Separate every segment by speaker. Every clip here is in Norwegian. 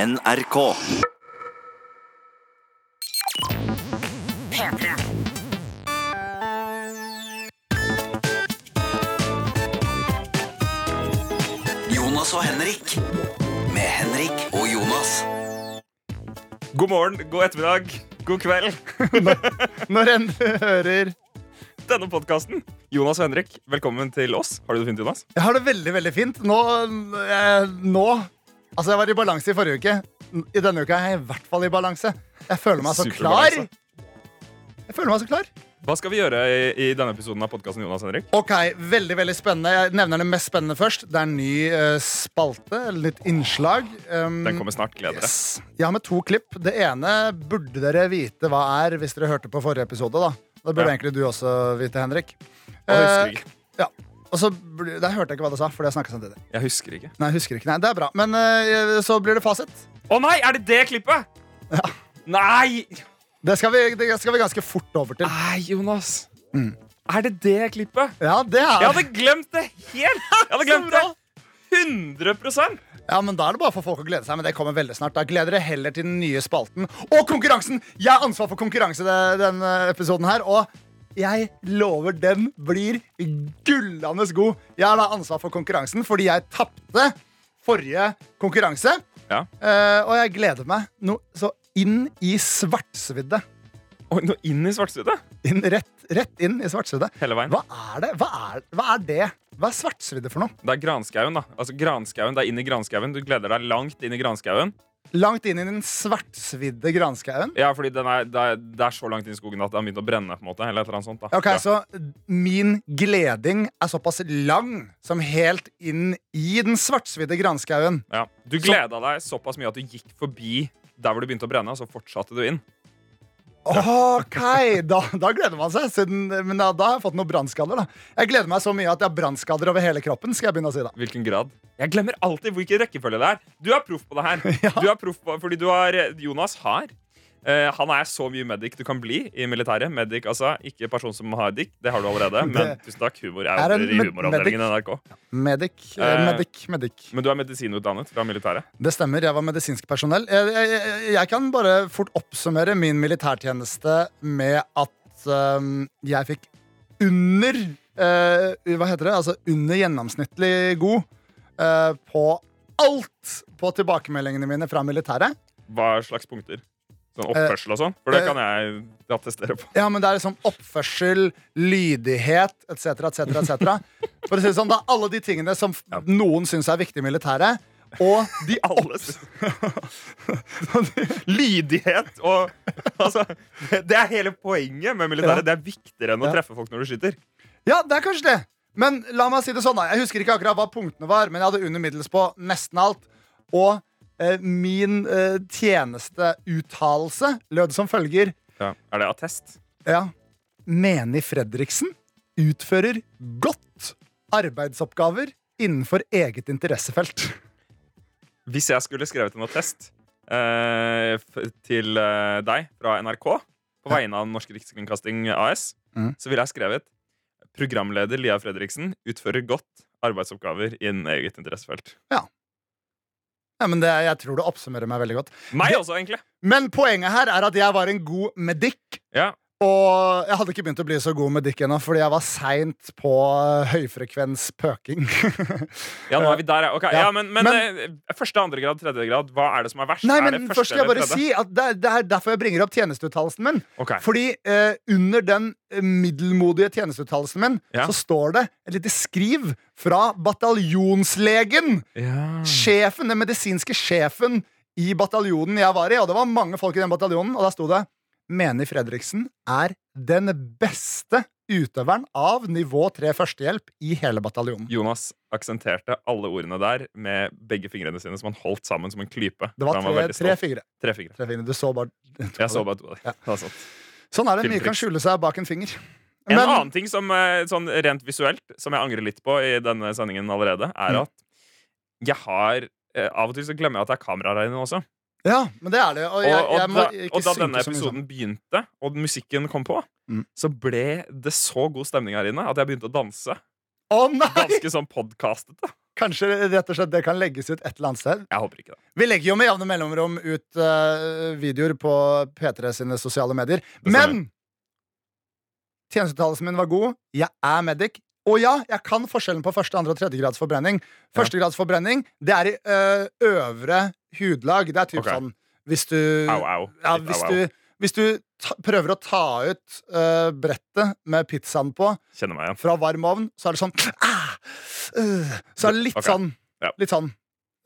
Speaker 1: NRK. Jonas og Henrik. Med Henrik og Jonas.
Speaker 2: God morgen, god ettermiddag, god kveld.
Speaker 3: Når en hører
Speaker 2: Denne podkasten. Jonas og Henrik, velkommen til oss. Har du det fint, Jonas?
Speaker 3: Jeg har det veldig, veldig fint. Nå, eh, nå Altså, jeg var i balanse i forrige uke. I denne uka er jeg i hvert fall i balanse. Jeg føler meg så klar.
Speaker 2: Superbalanse.
Speaker 3: Jeg føler meg så klar.
Speaker 2: Hva skal vi gjøre i, i denne episoden av podkasten, Jonas og Henrik?
Speaker 3: Ok, veldig, veldig spennende. Jeg nevner det mest spennende først. Det er en ny eh, spalte, eller nytt innslag. Um,
Speaker 2: Den kommer snart. Gleder deg.
Speaker 3: Yes. Jeg har med to klipp. Det ene burde dere vite hva er hvis dere hørte på forrige episode. da Det burde
Speaker 2: Ja.
Speaker 3: egentlig du også vite, Henrik.
Speaker 2: Jeg husker ikke.
Speaker 3: Eh, ja. Og så blir- Der hørte jeg ikke hva du sa, fordi jeg snakket samtidig.
Speaker 2: Jeg husker ikke.
Speaker 3: Nei, jeg husker ikke. Nei, det er bra. Men eh, så blir det fasit.
Speaker 2: Å nei, er det det klippet? Nei!
Speaker 3: Det skal, vi, det skal vi ganske fort over til.
Speaker 2: Nei, Jonas.
Speaker 3: Mm.
Speaker 2: Er det det klippet?
Speaker 3: Ja, det er
Speaker 2: Jeg hadde glemt det helt! Jeg hadde glemt det 100
Speaker 3: Ja, men Da er det bare for folk å glede seg. Men det kommer veldig snart. Da gleder dere heller til den nye spalten og konkurransen! Jeg har ansvar for konkurranse det- denne episoden her. Og jeg lover, den blir gullende god. Jeg har da ansvar for konkurransen fordi jeg tapte forrige konkurranse.
Speaker 2: Ja.
Speaker 3: Eh, og jeg gleder meg noe så inn i svartsvidde.
Speaker 2: Oi, nå inn i svartstudiet.
Speaker 3: Inn, rett, rett inn i svartsvidde.
Speaker 2: Hele veien.
Speaker 3: Hva er det? Hva er, hva er det? Hva er svartsvidde for noe?
Speaker 2: Det er granskauen, da. Altså, granskauen, Det er inn i granskauen. Du gleder deg langt inn i granskauen.
Speaker 3: Langt inn i den svartsvidde granskauen.
Speaker 2: Ja, fordi den er, det, er, det er så langt inn i skogen at den har begynt å brenne. på en måte Eller et eller annet sånt da
Speaker 3: Ok,
Speaker 2: ja.
Speaker 3: Så min gleding er såpass lang som helt inn i den svartsvidde granskauen.
Speaker 2: Ja. Du gleda deg såpass mye at du gikk forbi der hvor det begynte å brenne, og så fortsatte du inn.
Speaker 3: Ok, da, da gleder man seg. Siden, men da, da har jeg fått noen brannskader. da. Jeg gleder meg så mye at jeg har brannskader over hele kroppen. skal jeg begynne å si da.
Speaker 2: Hvilken grad? Jeg glemmer alltid hvilken rekkefølge det er. Du er proff på det her.
Speaker 3: Ja.
Speaker 2: Du er proff på, fordi du har Jonas har. eh, han er så mye medic du kan bli i militæret. Medic, altså, Ikke person som har dick, det har du allerede. Men
Speaker 3: Det-
Speaker 2: tusen takk, humor
Speaker 3: Er
Speaker 2: er,
Speaker 3: en
Speaker 2: er i
Speaker 3: med-
Speaker 2: humoravdelingen i NRK.
Speaker 3: Medic, eh,
Speaker 2: Eh.
Speaker 3: medic, medic.
Speaker 2: Men du er medisinutdannet fra militæret.
Speaker 3: Det stemmer. Jeg var medisinsk personell. Jeg, jeg, jeg- jeg kan bare fort oppsummere min militærtjeneste med at øhm, jeg fikk under øh, Hva heter det? Altså under gjennomsnittlig god øh, på alt på tilbakemeldingene mine fra militæret.
Speaker 2: Hva slags punkter? Sånn
Speaker 3: Eh,
Speaker 2: oppførsel og sånn? For det kan jeg attestere på.
Speaker 3: Ja, men det er liksom oppførsel, lydighet etc., etc., etc. For å si det sånn, det er alle de tingene som f- noen syns er viktige i militæret. Og de
Speaker 2: Alles. Lydighet og Altså, det er hele poenget med militæret.
Speaker 3: Ja.
Speaker 2: Det er viktigere enn å
Speaker 3: Ja.
Speaker 2: treffe folk når du skyter.
Speaker 3: Ja, det er kanskje det. Men la meg si det sånn, da. Jeg husker ikke akkurat hva punktene var, men jeg hadde under middels på nesten alt. Og eh, min eh, tjenesteuttalelse lød som følger
Speaker 2: Er det attest?
Speaker 3: Ja. Meni Fredriksen utfører godt arbeidsoppgaver innenfor eget interessefelt.
Speaker 2: Hvis jeg skulle skrevet en attest eh, f- til eh, deg fra NRK på vegne av Norsk Rikskringkasting AS,
Speaker 3: Mhm.
Speaker 2: så ville jeg skrevet Programleder Lia Fredriksen utfører godt arbeidsoppgaver innen eget interessefelt.
Speaker 3: Ja, men det, Jeg tror det oppsummerer meg veldig godt.
Speaker 2: Meg også, egentlig.
Speaker 3: Men poenget her er at jeg var en god medic.
Speaker 2: Ja.
Speaker 3: Og jeg hadde ikke begynt å bli så god medic ennå, fordi jeg var seint på eh, høyfrekvens pøking.
Speaker 2: Ja, nå er vi der, ja. Ok,
Speaker 3: Eh, Ja.
Speaker 2: ja, men, men,
Speaker 3: Men-
Speaker 2: eh, første, andre grad, tredje grad, hva er det som er verst?
Speaker 3: Nei,
Speaker 2: Er
Speaker 3: men
Speaker 2: det
Speaker 3: først skal jeg
Speaker 2: eller
Speaker 3: bare
Speaker 2: tredje?
Speaker 3: si at det er, det er derfor jeg bringer opp tjenesteuttalelsen min.
Speaker 2: Ok.
Speaker 3: Fordi eh, under den eh, middelmodige tjenesteuttalelsen min
Speaker 2: Ja.
Speaker 3: så står det et lite skriv fra
Speaker 2: Mm.
Speaker 3: bataljonslegen. Sjefen, Den medisinske sjefen i bataljonen jeg var i, og det var mange folk i den bataljonen, og da sto det Meni Fredriksen er den beste utøveren av nivå 3 førstehjelp i hele bataljonen.
Speaker 2: Jonas aksenterte alle ordene der med begge fingrene sine, som han holdt sammen som en klype.
Speaker 3: Det var
Speaker 2: Han
Speaker 3: tre,
Speaker 2: veldig
Speaker 3: tre,
Speaker 2: stolt.
Speaker 3: fingre.
Speaker 2: tre fingre.
Speaker 3: tre fingre. Du så bare
Speaker 2: Jeg så bare to av dem.
Speaker 3: Ja.
Speaker 2: Det var sant.
Speaker 3: Sånn er det. Mye kan
Speaker 2: Filmtriks.
Speaker 3: skjule seg bak en finger.
Speaker 2: En
Speaker 3: Men-
Speaker 2: annen ting som eh, sånn rent visuelt, som jeg angrer litt på i denne sendingen allerede, er
Speaker 3: Mm.
Speaker 2: at jeg har eh, Av og til så glemmer jeg at det er kameraer her inne også.
Speaker 3: Ja, men det er det. Og,
Speaker 2: Og,
Speaker 3: jeg,
Speaker 2: og,
Speaker 3: jeg må
Speaker 2: da,
Speaker 3: ikke
Speaker 2: og da
Speaker 3: synke
Speaker 2: denne
Speaker 3: så mye sånn. sammen.
Speaker 2: episoden begynte, og musikken kom på,
Speaker 3: Mm.
Speaker 2: så ble det så god stemning her inne at jeg begynte å danse.
Speaker 3: Å nei!
Speaker 2: Ganske sånn podkastete.
Speaker 3: Kanskje rett og slett det kan legges ut et eller annet sted.
Speaker 2: Jeg håper ikke det.
Speaker 3: Vi legger jo med jevne mellomrom ut eh, videoer på P3 sine sosiale medier.
Speaker 2: Det stemmer.
Speaker 3: Men tjenesteuttalelsen min var god. Jeg er medic. Og ja, jeg kan forskjellen på første, andre og tredje grads forbrenning. Første grads forbrenning, det er i eh, øvre hudlag. Det er typ
Speaker 2: Ok.
Speaker 3: sånn hvis du
Speaker 2: Au, au.
Speaker 3: ja,
Speaker 2: Litt
Speaker 3: hvis
Speaker 2: au, au.
Speaker 3: du, hvis du ta, prøver å ta ut eh, brettet med pizzaen på
Speaker 2: Kjenner meg igjen.
Speaker 3: fra varm ovn, så er det sånn ah, øh, Så er det litt
Speaker 2: Ok.
Speaker 3: sånn.
Speaker 2: Ja.
Speaker 3: Litt sånn.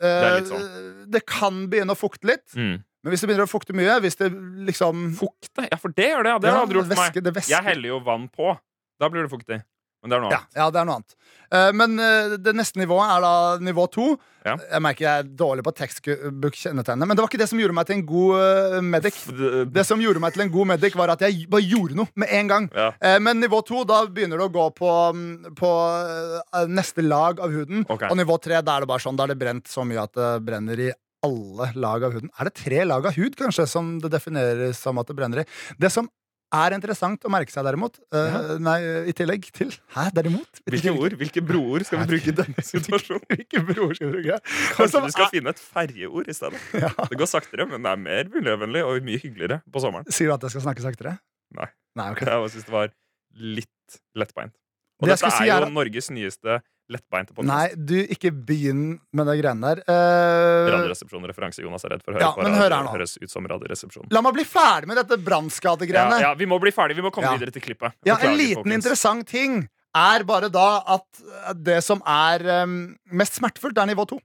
Speaker 2: er litt sånn.
Speaker 3: Eh, det kan begynne å fukte litt,
Speaker 2: Mm.
Speaker 3: men hvis det begynner å fukte mye Hvis det liksom
Speaker 2: Fukte? Ja, for det gjør det. Ja. Det
Speaker 3: Ja,
Speaker 2: hadde gjort for meg.
Speaker 3: væske, det væsker.
Speaker 2: Jeg heller jo vann på. Da blir det fuktig. Men det er noe
Speaker 3: Ja,
Speaker 2: annet.
Speaker 3: ja, det er noe annet. Eh, men eh, det neste nivået er da nivå to.
Speaker 2: Ja.
Speaker 3: Jeg merker jeg er dårlig på tekstbook-kjennetegnene, men det var ikke det som gjorde meg til en god eh, medic.
Speaker 2: F-
Speaker 3: Det som gjorde meg til en god medic, var at jeg bare gjorde noe med en gang.
Speaker 2: Ja.
Speaker 3: Eh, Men nivå to, da begynner det å gå på, mm, på eh, neste lag av huden.
Speaker 2: Ok.
Speaker 3: Og nivå tre, da er det bare sånn, da er det brent så mye at det brenner i alle lag av huden. Er det tre lag av hud, kanskje, som det defineres som at det brenner i? Det som er interessant å merke seg, derimot eh,
Speaker 2: Ja.
Speaker 3: Nei, i tillegg til Hæ, derimot? I
Speaker 2: Hvilke
Speaker 3: tillegg-
Speaker 2: ord, hvilke broord skal vi bruke i denne situasjonen?
Speaker 3: Hvilke broer skal du bruke? Det
Speaker 2: Kanskje
Speaker 3: som
Speaker 2: du skal finne et ferjeord i stedet?
Speaker 3: Ja.
Speaker 2: Det går saktere, men det er mer miljøvennlig og mye hyggeligere på sommeren.
Speaker 3: Sier du at jeg skal snakke saktere?
Speaker 2: Nei.
Speaker 3: Nei, ok.
Speaker 2: Jeg bare synes det var litt lettbeint. Og
Speaker 3: Det jeg
Speaker 2: dette
Speaker 3: skulle
Speaker 2: er
Speaker 3: si
Speaker 2: jo
Speaker 3: er at-
Speaker 2: Norges nyeste lettbeinte podkast.
Speaker 3: Nei, du, ikke begynn med de greiene der. Eh,
Speaker 2: Radioresepsjon-referanse. Jonas er redd for å høre
Speaker 3: Ja,
Speaker 2: på
Speaker 3: men
Speaker 2: radio.
Speaker 3: hør her nå.
Speaker 2: Høres ut som Radioresepsjonen.
Speaker 3: La meg bli ferdig med dette
Speaker 2: Ja,
Speaker 3: brannskadegreiene.
Speaker 2: ja, vi må bli ferdig. Vi må komme
Speaker 3: Ja.
Speaker 2: videre til klippet.
Speaker 3: Ja,
Speaker 2: Beklager,
Speaker 3: en liten
Speaker 2: folkens.
Speaker 3: interessant ting er bare da at eh, det som er em, mest smertefullt, er nivå 2.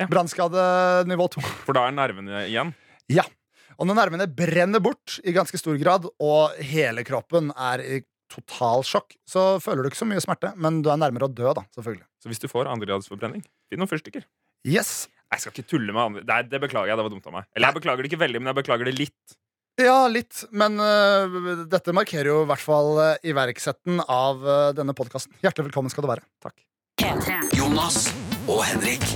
Speaker 2: Ja.
Speaker 3: Brannskade nivå 2.
Speaker 2: For da er nervene igjen.
Speaker 3: Og når nervene brenner bort i ganske stor grad, og hele kroppen er i totalsjokk, så føler du ikke så mye smerte, men du er nærmere å dø, da, selvfølgelig.
Speaker 2: Så hvis du får andregradsforbrenning, finn noen fyrstikker.
Speaker 3: Yes.
Speaker 2: Jeg skal ikke tulle med andre. Nei, det beklager jeg. Det var dumt av meg. Eller jeg beklager det ikke veldig, men jeg beklager det litt.
Speaker 3: Ja, litt, men eh, dette markerer jo i hvert fall eh, iverksetten av eh, denne podkasten. Hjertelig velkommen skal du være.
Speaker 2: Takk.
Speaker 1: Jonas og Henrik.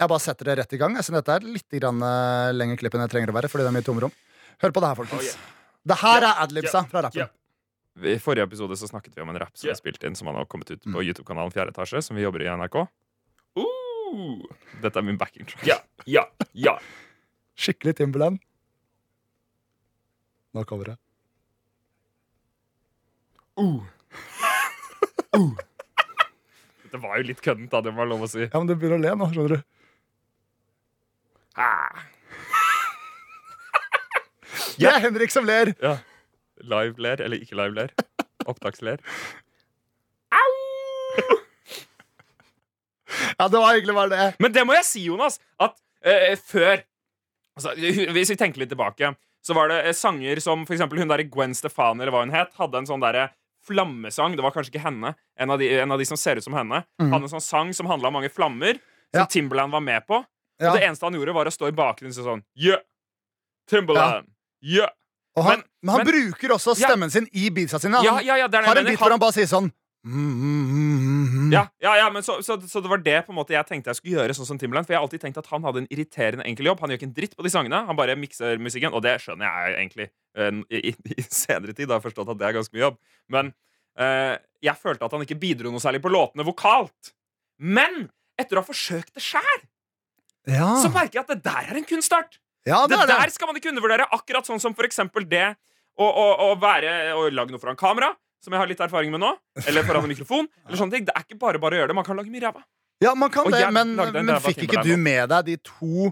Speaker 3: Jeg bare setter det rett i gang. Jeg synes dette er litt grann, eh, lengre klipp enn jeg trenger å være. Fordi det er mye tomrom Hør på det her, folkens. Det her er adlibsa fra rappen.
Speaker 2: Oh, Ja. I forrige episode så snakket vi om en rap som er spilt inn, som han har kommet ut
Speaker 3: Mm.
Speaker 2: på YouTube-kanalen 4 etasje, som vi jobber i i NRK.
Speaker 3: Uh.
Speaker 2: Dette er min backing track.
Speaker 4: Ja, ja, ja.
Speaker 3: Skikkelig Timberland. Nå kommer det.
Speaker 2: Det var jo litt køddent, da. Det var lov å si.
Speaker 3: Ja, men du begynner å le nå, skjønner du.
Speaker 2: Ah.
Speaker 3: Det er Henrik som ler.
Speaker 2: Ja. Live-ler eller ikke live-ler. Opptaksler.
Speaker 3: Ja, det var egentlig bare det.
Speaker 2: Men det må jeg si, Jonas, at eh, før altså, hu- Hvis vi tenker litt tilbake, så var det eh, sanger som for eksempel hun der Gwen Stefani, eller hva hun het, hadde en sånn derre flammesang. Det var kanskje ikke henne. En av de, en av de som ser ut som henne. Hadde en sånn sang som handla om mange flammer, som
Speaker 3: Mhm. Ja.
Speaker 2: Timberland var med på.
Speaker 3: Ja.
Speaker 2: Og Altså, det eneste han gjorde, var å stå i bakgrunnen og si sånn Yeah! Timberland! Yeah!
Speaker 3: Og han,
Speaker 2: Men-
Speaker 3: men han
Speaker 2: men-
Speaker 3: bruker også
Speaker 2: Ja.
Speaker 3: stemmen sin i beatsa sine.
Speaker 2: Ja,
Speaker 3: Han
Speaker 2: ja, ja, det er det
Speaker 3: har
Speaker 2: jeg
Speaker 3: en
Speaker 2: mener.
Speaker 3: bit hvor han bare sier sånn mm, mm, mm, mm, mm.
Speaker 2: Ja, ja, ja men så, så, så det var det på en måte jeg tenkte jeg skulle gjøre sånn som Timberland. For jeg har alltid tenkt at han hadde en irriterende enkel jobb. Han gjør ikke en dritt på de sangene. Han bare mikser musikken, og det skjønner jeg egentlig eh, i, i, i senere tid. Da har jeg forstått at det er ganske mye jobb. Men eh, jeg følte at han ikke bidro noe særlig på låtene vokalt. Men etter å ha forsøkt det sjæl,
Speaker 3: Ja.
Speaker 2: så merker jeg at det der er en kunstart.
Speaker 3: Ah. ja, det
Speaker 2: Det
Speaker 3: er det.
Speaker 2: der skal man ikke undervurdere. Akkurat sånn som for eksempel det å, å, å være Å lage noe foran kamera, som jeg har litt erfaring med nå. Eller foran en mikrofon. Eller sånne ting. Det er ikke bare bare å gjøre det. Man kan lage mye ræva.
Speaker 3: Ja, man kan
Speaker 2: Og
Speaker 3: det,
Speaker 2: jeg
Speaker 3: men,
Speaker 2: lagde en
Speaker 3: men
Speaker 2: ræva
Speaker 3: fikk ikke
Speaker 2: Timberland
Speaker 3: du
Speaker 2: nå.
Speaker 3: med deg de to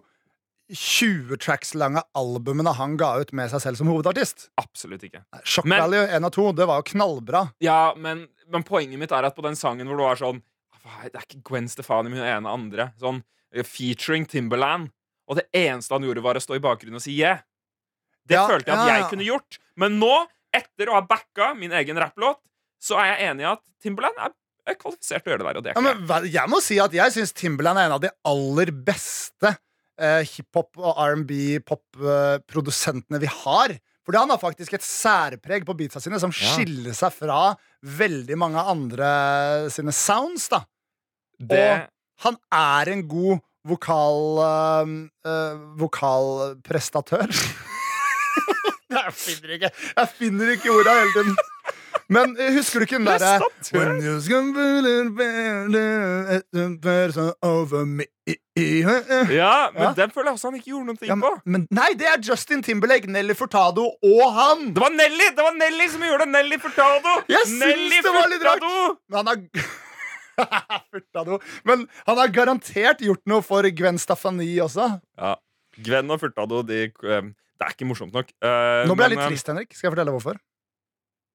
Speaker 3: 20 tracks lange albumene han ga ut med seg selv som hovedartist?
Speaker 2: Absolutt ikke.
Speaker 3: Nei, Shock
Speaker 2: Men-
Speaker 3: Value 1 og 2, det var jo knallbra.
Speaker 2: Ja, men, men poenget mitt er at på den sangen hvor du var sånn "Hva er- Det er ikke Gwen Stefani, men hun ene andre. Sånn eh, featuring Timberland. Og det eneste han gjorde, var å stå i bakgrunnen og si yeah. Det
Speaker 3: Ja,
Speaker 2: følte jeg at
Speaker 3: ja,
Speaker 2: jeg
Speaker 3: ja.
Speaker 2: kunne gjort. Men nå, etter å ha backa min egen rapplåt, så er jeg enig i at Timberland er, er kvalifisert til å gjøre det der. Og det er
Speaker 3: Ja,
Speaker 2: ikke jeg.
Speaker 3: men, hva- jeg må si at jeg syns Timberland er en av de aller beste eh, hiphop- og R&B-popprodusentene vi har. Fordi han har faktisk et særpreg på beatsa sine som
Speaker 2: Ja.
Speaker 3: skiller seg fra veldig mange andre sine sounds. da
Speaker 2: det,
Speaker 3: og- Han er en god vokal... eh, eh, vokalprestatør. jeg finner ikke Jeg finner ikke ordet hele tiden. Men eh, husker du ikke den
Speaker 2: Det er
Speaker 3: derre
Speaker 2: sant, tror jeg.
Speaker 3: When you stumble and fall, eh, eh, person over me Ja,
Speaker 2: Ja, men
Speaker 3: Ja.
Speaker 2: den føler jeg også han ikke gjorde noen ting
Speaker 3: men,
Speaker 2: på.
Speaker 3: men, Nei, det er Justin Timberlake, Nelly Furtado og han!
Speaker 2: Det var Nelly det var Nelly som gjorde det! Nelly Furtado!
Speaker 3: Jeg syns
Speaker 2: Nelly
Speaker 3: det var litt rart.
Speaker 2: Furtado!
Speaker 3: Men han har Furtado. Men han har garantert gjort noe for Gwen Stefani også.
Speaker 2: Ja. Gwen og Furtado, de eh, Det er ikke morsomt nok. Eh,
Speaker 3: Nå ble
Speaker 2: men,
Speaker 3: jeg litt
Speaker 2: eh,
Speaker 3: trist, Henrik. Skal jeg fortelle hvorfor?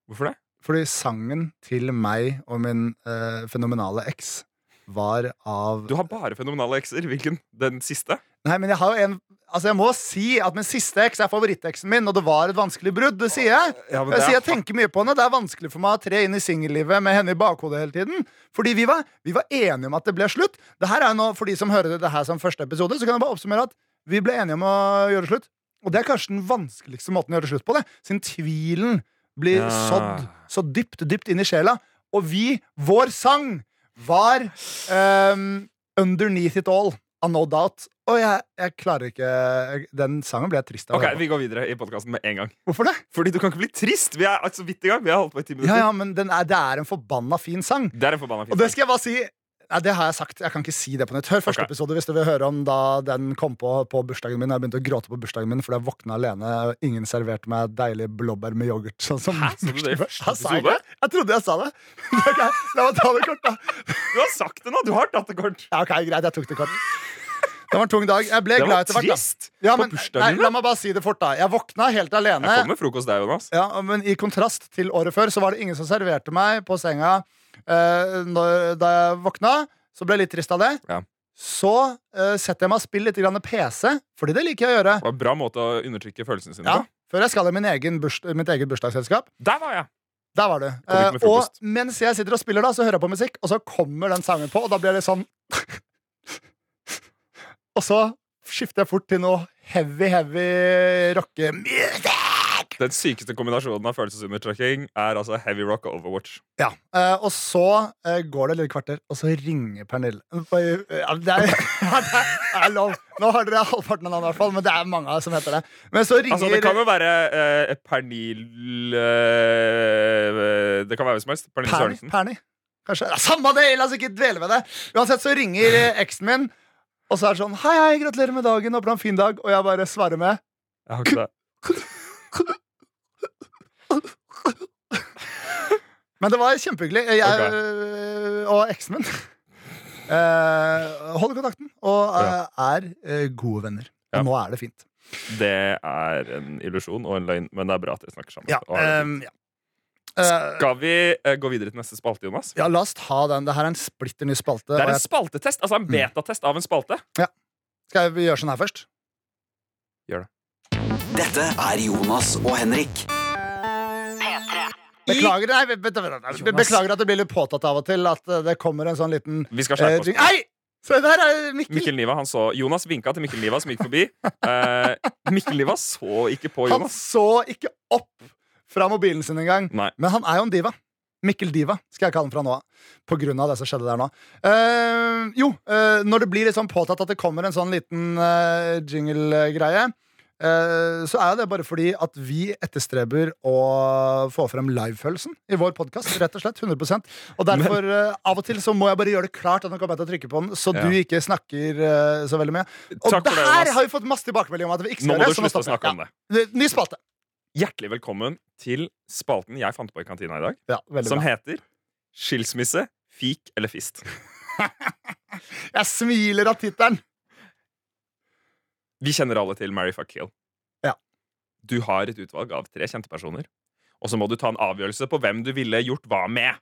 Speaker 2: Hvorfor det?
Speaker 3: Fordi sangen til meg og min eh, fenomenale eks var av
Speaker 2: Du har bare fenomenale ekser. Hvilken? Den siste?
Speaker 3: Nei, men jeg har jo en Altså, jeg må si at min siste eks er favoritteksen min, og det var et vanskelig brudd. Det sier jeg.
Speaker 2: Ja, men
Speaker 3: Jeg,
Speaker 2: det
Speaker 3: sier,
Speaker 2: er
Speaker 3: jeg tenker mye på henne. Det er vanskelig for meg å tre inn i singellivet med henne i bakhodet hele tiden. Fordi vi var, vi var enige om at det ble slutt. Det her er jo nå, For de som hører det her som første episode, så kan jeg bare oppsummere at vi ble enige om å gjøre slutt. Og det er kanskje den vanskeligste måten å gjøre slutt på, det. Siden tvilen blir
Speaker 2: Ja.
Speaker 3: sådd så dypt, dypt inn i sjela. Og vi, vår sang, var ehm, Underneath It All av No Doubt. Og jeg, jeg klarer ikke Den sangen ble jeg trist av. å
Speaker 2: Ok,
Speaker 3: høre på.
Speaker 2: Vi går videre i podkasten med en gang.
Speaker 3: Hvorfor det?
Speaker 2: Fordi du kan ikke bli trist! Vi er altså, så vidt i gang. Vi har holdt på i ti minutter.
Speaker 3: Ja, ja, men den er, det er en forbanna fin sang.
Speaker 2: Det er en forbanna fin
Speaker 3: Og det
Speaker 2: sang.
Speaker 3: skal jeg bare si Nei, det har jeg sagt. Jeg kan ikke si det på nytt. Hør første
Speaker 2: Ok.
Speaker 3: episode hvis du vil høre om da den kom på på bursdagen min. og Jeg begynte å gråte på bursdagen min fordi jeg våkna alene. og Ingen serverte meg deilig blåbær med yoghurt. Sånn som
Speaker 2: Hæ? Sa du det i første
Speaker 3: Jeg sa ikke
Speaker 2: episode?
Speaker 3: det. Jeg trodde jeg sa det. Ok, La meg ta det kort, da.
Speaker 2: Du har sagt det nå! Du har tatt det kort.
Speaker 3: Ja, ok, Greit, jeg tok det kort. Det var en tung dag. Jeg ble
Speaker 2: Det var
Speaker 3: glad etter hvert. da.
Speaker 2: trist!
Speaker 3: Ja,
Speaker 2: På
Speaker 3: men, nei,
Speaker 2: bursdagen
Speaker 3: la
Speaker 2: din.
Speaker 3: meg bare si det fort, da. Jeg våkna helt alene.
Speaker 2: Jeg kom med frokost der, Jonas.
Speaker 3: Ja, men i kontrast til året før Så var det ingen som serverte meg på senga eh, når, Da jeg våkna Så ble jeg litt trist av det
Speaker 2: Ja.
Speaker 3: Så eh, setter jeg meg og spiller litt grann PC Fordi det liker jeg å gjøre
Speaker 2: Det var en bra måte å undertrykke følelsene sine
Speaker 3: ja,
Speaker 2: på.
Speaker 3: Før jeg skal i min egen burs, mitt eget bursdagsselskap
Speaker 2: Der var jeg!
Speaker 3: Der var du
Speaker 2: Kom hit med
Speaker 3: Eh,
Speaker 2: frokost.
Speaker 3: Og mens jeg sitter og spiller da Så hører jeg på musikk Og så kommer den sangen på Og da blir det sånn Og så skifter jeg fort til noe Heavy, heavy rocke
Speaker 2: Den sykeste kombinasjonen av følelsesundertrykking er altså heavy rock og Overwatch.
Speaker 3: Ja, eh, og så eh, går det et lite kvarter, og så ringer Pernille. Oi, ja, Det er, ja, det er lov. Nå har dere halvparten av navnet, i hvert fall, men det er mange som heter det. Men så ringer
Speaker 2: Altså, det kan jo være eh, Pernil eh, Det kan være hvem som helst. Pernille
Speaker 3: Perni,
Speaker 2: Sørensen.
Speaker 3: Perni. Kanskje. Ja, samme det, la oss ikke dvele ved det. Uansett så ringer eh, eksen min, og så er det sånn Hei, hei, gratulerer med dagen, håper du har en fin dag. Og jeg bare svarer med
Speaker 2: Jeg har ikke det.
Speaker 3: Men det var kjempehyggelig. Jeg,
Speaker 2: Ok.
Speaker 3: øh, og eksen min øh, holder kontakten og øh, er øh, gode venner. Og
Speaker 2: Ja.
Speaker 3: nå er det fint.
Speaker 2: Det er en illusjon og en løgn, men det er bra at dere snakker sammen.
Speaker 3: Ja, ehm,
Speaker 2: Og har det
Speaker 3: øhm, ja.
Speaker 2: fint.
Speaker 3: Øh,
Speaker 2: Skal vi eh, gå videre til neste spalte, Jonas?
Speaker 3: ja, la oss ta den. Det her er en splitter ny spalte.
Speaker 2: Det
Speaker 3: og
Speaker 2: er en
Speaker 3: jeg, Mm.
Speaker 2: spaltetest, altså en betatest av en spalte.
Speaker 3: skal vi gjøre sånn her først?
Speaker 1: Dette er Jonas og Henrik.
Speaker 3: Beklager, nei, be, be, be, be,
Speaker 2: Jonas.
Speaker 3: beklager at det blir litt påtatt av og til at øh, det kommer en sånn liten
Speaker 2: Vi skal
Speaker 3: eh,
Speaker 2: skjerpe
Speaker 3: jing-
Speaker 2: oss.
Speaker 3: Nei! Se, der er Mikkel.
Speaker 2: Mikkel Niva, han så Jonas vinka til Mikkel Niva, som gikk forbi. Eh, Mikkel Niva så ikke på
Speaker 3: Han
Speaker 2: Jonas.
Speaker 3: så ikke opp fra mobilen sin engang.
Speaker 2: Nei.
Speaker 3: Men han er jo en diva. Mikkel Diva skal jeg kalle han fra nå av. På grunn av det som skjedde der nå. Eh, jo, eh, når det blir litt sånn påtatt at det kommer en sånn liten eh, jingle-greie, eh, så er jo det bare fordi at vi etterstreber å få frem livefølelsen i vår podkast. Rett og slett. 100 Og derfor, eh, av og til så må jeg bare gjøre det klart at nå kommer jeg til å trykke på den, så
Speaker 2: Ja.
Speaker 3: du ikke snakker eh, så veldig mye. Og
Speaker 2: Takk for
Speaker 3: det
Speaker 2: det,
Speaker 3: her
Speaker 2: Jonas.
Speaker 3: har vi fått masse tilbakemelding om at vi ikke
Speaker 2: Nå
Speaker 3: skal
Speaker 2: må
Speaker 3: gjøre.
Speaker 2: du slutte å snakke om det.
Speaker 3: det. Ny spalte.
Speaker 2: Hjertelig velkommen til spalten jeg fant på i kantina i dag,
Speaker 3: Ja, veldig
Speaker 2: som
Speaker 3: bra.
Speaker 2: heter Skilsmisse, fik eller fist.
Speaker 3: Jeg smiler av tittelen.
Speaker 2: Vi kjenner alle til Mary Fuck Kill.
Speaker 3: Ja.
Speaker 2: Du har et utvalg av tre kjente personer, og så må du ta en avgjørelse på hvem du ville gjort hva med.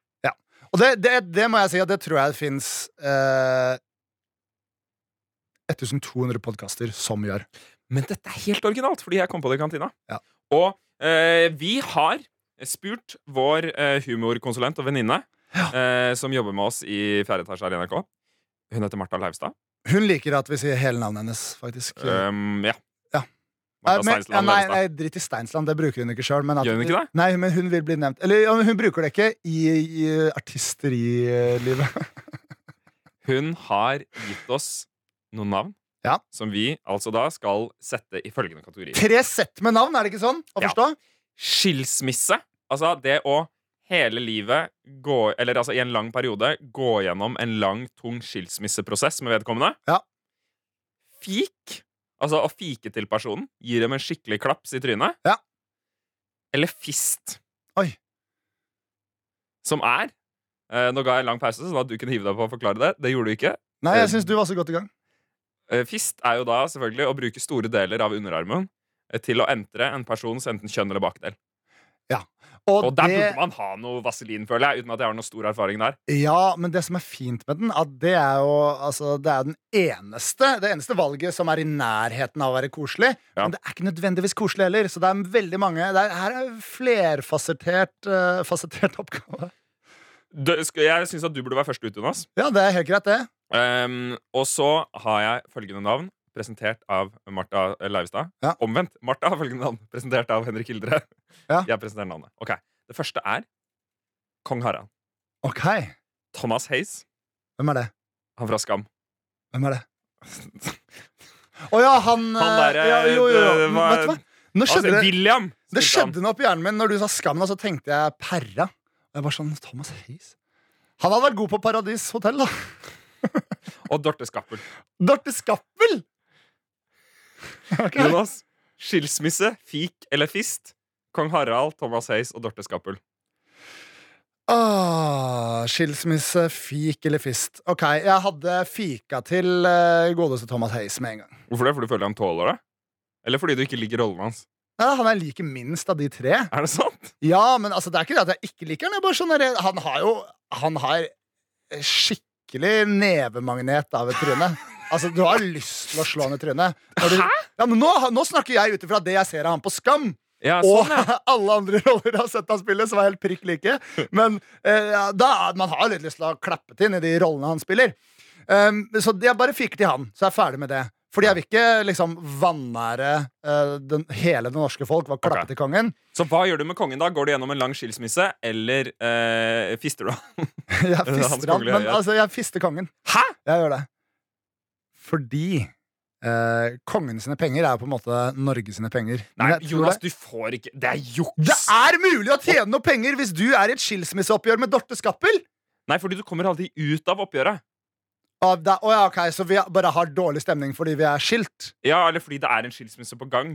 Speaker 3: Og det, det, det må jeg si at det tror jeg det fins eh, 1200 podkaster som gjør.
Speaker 2: Men dette er helt originalt, fordi jeg kom på det i kantina.
Speaker 3: Ja.
Speaker 2: Og eh, vi har spurt vår eh, humorkonsulent og venninne, eh, som jobber med oss i fjerde etasje her i NRK. Hun heter Martha Leivstad.
Speaker 3: Hun liker at vi sier hele navnet hennes, faktisk.
Speaker 2: Um, ja.
Speaker 3: Ja.
Speaker 2: Martha
Speaker 3: Eh, men, ja,
Speaker 2: Steinsland
Speaker 3: nei,
Speaker 2: Leivstad.
Speaker 3: nei, drit i Steinsland, det bruker hun ikke sjøl.
Speaker 2: Gjør hun ikke det?
Speaker 3: Nei, men hun vil bli nevnt. Eller ja, men hun bruker det ikke i, i artisterilivet.
Speaker 2: Hun har gitt oss noen navn
Speaker 3: Ja.
Speaker 2: som vi altså da skal sette i følgende kategori.
Speaker 3: Tre sett med navn, er det ikke sånn å
Speaker 2: Ja.
Speaker 3: forstå?
Speaker 2: Skilsmisse, altså det å hele livet, gå, eller altså i en lang periode, gå gjennom en lang, tung skilsmisseprosess med vedkommende.
Speaker 3: Ja.
Speaker 2: Fik, altså å fike til personen, gi dem en skikkelig klaps i trynet.
Speaker 3: Ja.
Speaker 2: Eller fist.
Speaker 3: Oi.
Speaker 2: Som er eh, Nå ga jeg en lang pause, sånn at du kunne hive deg på å forklare det. Det gjorde du ikke.
Speaker 3: Nei, jeg syns du var så godt i gang.
Speaker 2: Eh, Fist er jo da selvfølgelig å bruke store deler av underarmen eh, til å entre en persons enten kjønn eller bakdel. Og der burde man ha noe vaselin, føler jeg, uten at jeg har noe stor erfaring der.
Speaker 3: Ja, men det som er fint med den, at det er jo altså, det er den eneste, det eneste valget som er i nærheten av å være koselig.
Speaker 2: Ja.
Speaker 3: Men det er ikke nødvendigvis koselig heller, så det er veldig mange det er, Her er flerfasettert eh, fasettert oppgave.
Speaker 2: Du, sk- jeg syns at du burde være først ut, Jonas.
Speaker 3: Ja, det er helt greit, det.
Speaker 2: Ehm, og så har jeg følgende navn, presentert av Martha eh, Leivestad.
Speaker 3: Ja.
Speaker 2: Omvendt. Martha har følgende navn, presentert av Henrik Hildre.
Speaker 3: Ja.
Speaker 2: Jeg presenterer navnet. Ok, Det første er kong Harald.
Speaker 3: Ok.
Speaker 2: Thomas Hayes,
Speaker 3: Hvem er det?
Speaker 2: han fra Skam.
Speaker 3: Hvem er det? Å ja, han, eh,
Speaker 2: Han derre
Speaker 3: ja, Jo, jo, jo.
Speaker 2: det var-
Speaker 3: Vet du hva? Nå
Speaker 2: Altså,
Speaker 3: skjedde det
Speaker 2: William! spilte
Speaker 3: Det
Speaker 2: han.
Speaker 3: skjedde noe på hjernen min Når du sa skammen, så tenkte jeg perra. Og jeg var sånn Thomas Hayes. Han hadde vært god på Paradis hotell, da.
Speaker 2: Og Dorte Skappel.
Speaker 3: Dorte Skappel! Ok.
Speaker 2: Jonas, skilsmisse, fik eller fist? Kong Harald, Thomas Hayes og Dorte Skappel.
Speaker 3: Åh, Ah, skilsmisse, fik eller fist. Ok, jeg hadde fika til eh, godeste Thomas Hayes med en gang.
Speaker 2: Hvorfor det? Fordi du føler han tåler det? Eller fordi du ikke liker rollen hans?
Speaker 3: Nei, han jeg liker minst av de tre.
Speaker 2: Er det sant?
Speaker 3: Ja, men altså, det er ikke det at jeg ikke liker han. Jeg er bare sånn der- han har jo Han har skikkelig nevemagnet av et tryne. Altså, Du har lyst til å slå han i trynet. Når du- Ja, men nå, nå snakker jeg ut ifra det jeg ser av han på Skam.
Speaker 2: Ja,
Speaker 3: Og
Speaker 2: sånn, ja.
Speaker 3: alle andre roller jeg har sett han spille, som er helt prikk like. Men eh, ja, da, man har litt lyst til å klappe til i de rollene han spiller. Um, så jeg bare fiker til han, så jeg er ferdig med det. Fordi jeg vil ikke liksom vanære eh, den, hele det norske folk ved å klappe
Speaker 2: Ok.
Speaker 3: til kongen.
Speaker 2: Så hva gjør du med kongen da? Går du gjennom en lang skilsmisse, eller eh, fister du han?
Speaker 3: Jeg
Speaker 2: Hans
Speaker 3: fister han,
Speaker 2: kongelige
Speaker 3: men
Speaker 2: høyhet.
Speaker 3: altså, jeg fister kongen.
Speaker 2: Hæ?!
Speaker 3: Jeg gjør det. Fordi eh, kongen sine penger er jo på en måte Norge sine penger.
Speaker 2: Nei,
Speaker 3: Men jeg tror
Speaker 2: Jonas,
Speaker 3: det-
Speaker 2: du får ikke Det er
Speaker 3: det
Speaker 2: juks!
Speaker 3: er mulig å tjene noe penger hvis du er i et skilsmisseoppgjør med Dorte Skappel!
Speaker 2: Nei, fordi du kommer aldri ut av oppgjøret.
Speaker 3: Å da, å ja, ok, Så vi bare har dårlig stemning fordi vi er skilt?
Speaker 2: Ja, eller fordi det er en skilsmisse på gang.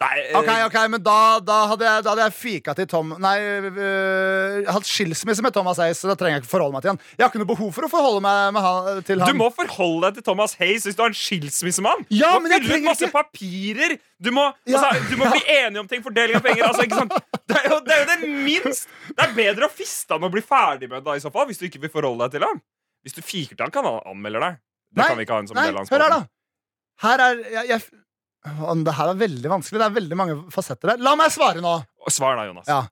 Speaker 2: Nei eh,
Speaker 3: Ok, ok, men da, da, hadde, jeg, da hadde jeg fika til Tom Nei, øh, hatt skilsmisse med Thomas Hayes, så da trenger jeg ikke forholde meg til han. Jeg har ikke noe behov for å forholde meg med han, eh, til
Speaker 2: Du
Speaker 3: han.
Speaker 2: må forholde deg til Thomas Hayes hvis du er en skilsmissemann!
Speaker 3: Ja,
Speaker 2: du
Speaker 3: men
Speaker 2: må fylle
Speaker 3: jeg
Speaker 2: ut
Speaker 3: trenger
Speaker 2: masse
Speaker 3: ikke-
Speaker 2: papirer! Du må,
Speaker 3: Ja,
Speaker 2: altså, du må bli enig om ting, fordeling av penger altså, ikke sant? Det, er jo, det er jo det minst! Det er bedre å fiste han og bli ferdig med det da, i så fall, hvis du ikke vil forholde deg til han. Hvis du fiker til han, kan han anmelde deg. Det
Speaker 3: Nei,
Speaker 2: kan vi ikke ha en som
Speaker 3: Nei,
Speaker 2: del av hans
Speaker 3: hør her,
Speaker 2: båten.
Speaker 3: da. Her er jeg, jeg, Åh, Det her er veldig vanskelig. Det er veldig mange fasetter der. La meg svare nå!
Speaker 2: Og Svar da, Jonas.
Speaker 3: Ja.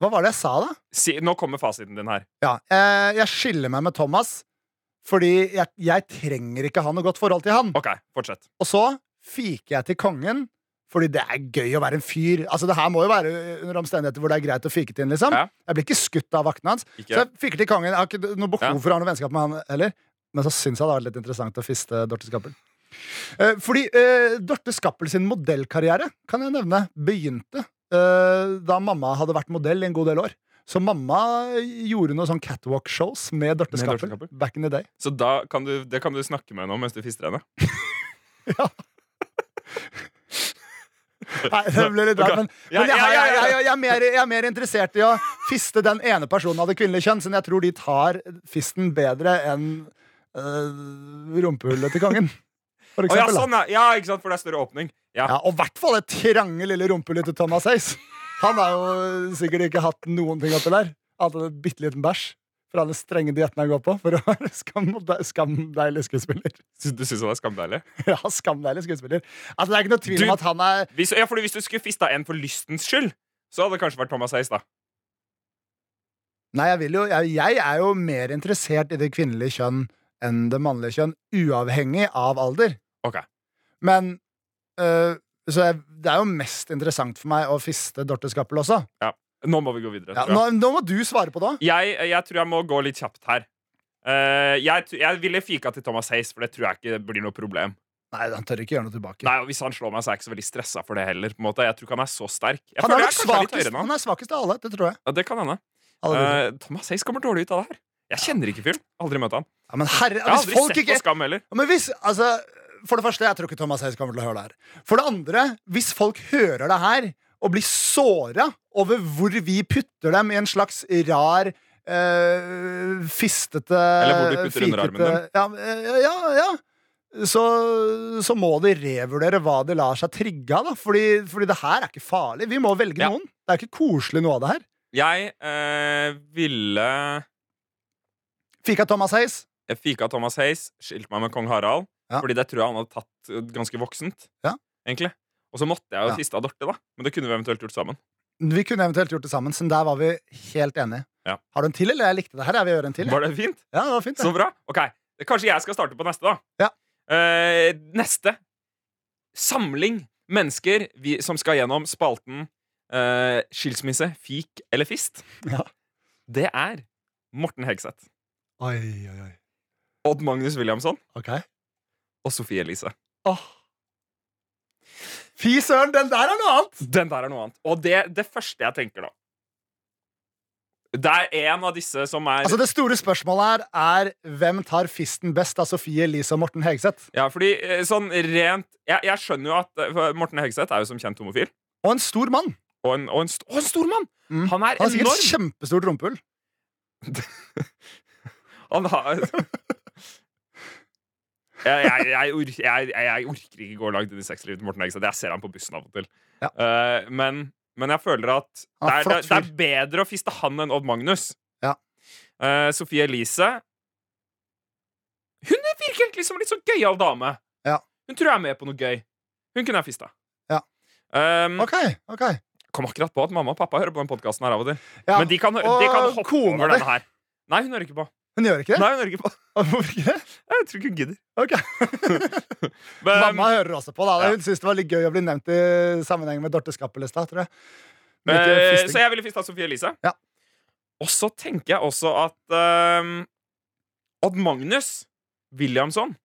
Speaker 3: Hva var det jeg sa, da?
Speaker 2: Si, nå kommer fasiten din her.
Speaker 3: Ja, eh, Jeg skiller meg med Thomas fordi jeg, jeg trenger ikke ha noe godt forhold til han.
Speaker 2: Ok, fortsett.
Speaker 3: Og så fiker jeg til kongen, fordi det er gøy å være en fyr. Altså, det her må jo være under omstendigheter hvor det er greit å fike til inn, liksom.
Speaker 2: Ja.
Speaker 3: Jeg blir ikke skutt av vaktene hans. Så
Speaker 2: Ikke,
Speaker 3: jeg fiker til kongen. Jeg har ikke noe behov
Speaker 2: Ja.
Speaker 3: for å ha noe vennskap med han heller. Men så syns jeg det hadde vært litt interessant å fiste Dorte Skappel. Eh, fordi eh, Dorte Skappel sin modellkarriere, kan jeg nevne, begynte eh, da mamma hadde vært modell i en god del år. Så mamma gjorde noen sånn catwalk-shows med Dorte
Speaker 2: Med Dorte
Speaker 3: Skappel
Speaker 2: Skappel.
Speaker 3: back in the day.
Speaker 2: så da kan du, det kan du snakke med henne om mens du fister henne.
Speaker 3: Nei, det ble litt rart, men,
Speaker 2: Ja,
Speaker 3: men
Speaker 2: ja, ja,
Speaker 3: jeg, jeg, jeg,
Speaker 2: ja.
Speaker 3: jeg, jeg, er mer, jeg er mer interessert i å fiste den ene personen av det kvinnelige kjønn, siden jeg tror de tar fisten bedre enn øh, rumpehullet til kongen. For
Speaker 2: Å ja,
Speaker 3: eksempel. da.
Speaker 2: sånn, ja. ja, ikke sant, for det er større åpning. Ja.
Speaker 3: ja, og i hvert fall det trange lille rumpehullet til Thomas Hayes. Han har jo sikkert ikke hatt noen ting oppi der, annet enn en bitte liten bæsj. Fra den strenge dietten jeg går på, for å være skam, skamdeilig skuespiller.
Speaker 2: Syns- Du syns han er skamdeilig?
Speaker 3: Ja, skamdeilig skuespiller. Altså, det er ikke noe tvil om
Speaker 2: Du-
Speaker 3: at han er
Speaker 2: Hvis, ja, fordi hvis du skulle fista en for lystens skyld, så hadde det kanskje vært Thomas Hayes, da.
Speaker 3: Nei, jeg, vil jo, jeg, jeg er jo mer interessert i det kvinnelige kjønn enn det mannlige kjønn, uavhengig av alder.
Speaker 2: Ok.
Speaker 3: Men øh, Så jeg, det er jo mest interessant for meg å fiste Dorte Skappel også.
Speaker 2: Nå må vi gå videre.
Speaker 3: Ja,
Speaker 2: tror jeg.
Speaker 3: nå, nå må du svare på det.
Speaker 2: Jeg, jeg tror jeg må gå litt kjapt her. Eh, jeg, tr- jeg ville fika til Thomas Hayes, for det tror jeg ikke blir noe problem.
Speaker 3: Nei, han tør ikke gjøre noe tilbake.
Speaker 2: Nei, og Hvis han slår meg, så er jeg ikke så veldig stressa for det heller. på en måte. Jeg tror ikke han er så sterk. Jeg
Speaker 3: han,
Speaker 2: føler
Speaker 3: er
Speaker 2: jeg
Speaker 3: nok
Speaker 2: kanskje er litt
Speaker 3: svakest,
Speaker 2: høyere enn han.
Speaker 3: han er svakest av alle, det tror jeg.
Speaker 2: Ja, det kan hende.
Speaker 3: Alle tror jeg.
Speaker 2: Eh, Thomas Hace kommer dårlig ut av det her. Jeg kjenner ikke fyren. Aldri møtt han.
Speaker 3: Ja, men herre,
Speaker 2: Jeg har
Speaker 3: hvis
Speaker 2: aldri
Speaker 3: folk
Speaker 2: sett
Speaker 3: ikke
Speaker 2: på Skam heller.
Speaker 3: Ja, Men hvis, altså For det første, jeg tror ikke Thomas Hayes kommer til å høre det her. For det andre, hvis folk hører det her og blir såra over hvor vi putter dem i en slags rar eh, fistete
Speaker 2: Eller hvor du putter under
Speaker 3: fikete- Ja, eh, ja, ja. Så, så må de revurdere hva de lar seg trigge av, da. Fordi, fordi det her er ikke farlig. Vi må velge
Speaker 2: Ja.
Speaker 3: noen. Det er ikke koselig noe av det her.
Speaker 2: Jeg eh, ville
Speaker 3: Fika Thomas Hayes.
Speaker 2: jeg fika Thomas Hays, skilt meg med kong Harald,
Speaker 3: Ja.
Speaker 2: fordi det tror jeg han hadde tatt eh, ganske voksent.
Speaker 3: Ja.
Speaker 2: egentlig. Og så måtte jeg jo
Speaker 3: Ja.
Speaker 2: tiste av Dorte, da. Men det kunne vi eventuelt gjort sammen.
Speaker 3: Vi kunne eventuelt gjort det sammen, så der var vi helt enige.
Speaker 2: Ja.
Speaker 3: Har du en til, eller? Jeg likte det her. Jeg vil gjøre en til. jeg.
Speaker 2: Var det fint?
Speaker 3: Ja, det var fint. det.
Speaker 2: Så bra. Ok, Kanskje jeg skal starte på neste, da.
Speaker 3: Ja.
Speaker 2: Eh, neste. Samling mennesker vi, som skal gjennom spalten eh, skilsmisse, fik eller fist.
Speaker 3: Ja.
Speaker 2: Det er Morten Hegseth,
Speaker 3: Oi, oi, oi.
Speaker 2: Odd Magnus Williamson
Speaker 3: Ok.
Speaker 2: og Sofie Elise.
Speaker 3: Fy søren, den der er noe annet!
Speaker 2: Den der er noe annet. Og det, det første jeg tenker, da Det er en av disse som er
Speaker 3: Altså Det store spørsmålet her er hvem tar fisten best av Sofie Elise og Morten Hegseth?
Speaker 2: Ja, fordi eh, sånn rent Jeg, jeg skjønner jo at eh, for Morten Hegseth er jo som kjent homofil.
Speaker 3: Og en stor mann.
Speaker 2: Og en, og en, st og en stor mann!
Speaker 3: Mm.
Speaker 2: Han er
Speaker 3: Han har sikkert
Speaker 2: enorm!
Speaker 3: kjempestort rumpehull.
Speaker 2: Han har jeg, jeg, jeg, or- jeg, jeg, jeg orker ikke gå langt inn i sexlivet til Morten Hegseth. Jeg ser han på bussen av og til.
Speaker 3: Ja.
Speaker 2: Eh, men, men jeg føler at det
Speaker 3: Han er
Speaker 2: er, det,
Speaker 3: flott
Speaker 2: det er bedre å fiste han enn Odd Magnus.
Speaker 3: Ja.
Speaker 2: Eh, Sofie Elise Hun virker egentlig som en litt sånn gøyal dame.
Speaker 3: Ja.
Speaker 2: Hun tror jeg er med på noe gøy. Hun kunne jeg fista.
Speaker 3: Ja.
Speaker 2: Um,
Speaker 3: Ok, ok
Speaker 2: Kom akkurat på at mamma og pappa hører på den podkasten her av og til.
Speaker 3: ja.
Speaker 2: Men de kan, hø- de kan
Speaker 3: og
Speaker 2: hoppe
Speaker 3: kona
Speaker 2: over
Speaker 3: di.
Speaker 2: denne her. Nei, hun hører ikke på.
Speaker 3: Hun gjør ikke det?
Speaker 2: Nei, hun hører ikke på.
Speaker 3: Hvorfor ikke det?
Speaker 2: Jeg tror ikke hun gidder.
Speaker 3: Ok.
Speaker 2: Men,
Speaker 3: Mamma hører også på. da
Speaker 2: ja.
Speaker 3: Hun syntes det var litt gøy å bli nevnt i sammenheng med Dorte Skappelestad. tror jeg. Men ikke
Speaker 2: eh,
Speaker 3: fisting.
Speaker 2: så jeg ville fista Sofie Elise.
Speaker 3: Ja.
Speaker 2: Og så tenker jeg også at eh, Odd Magnus Williamson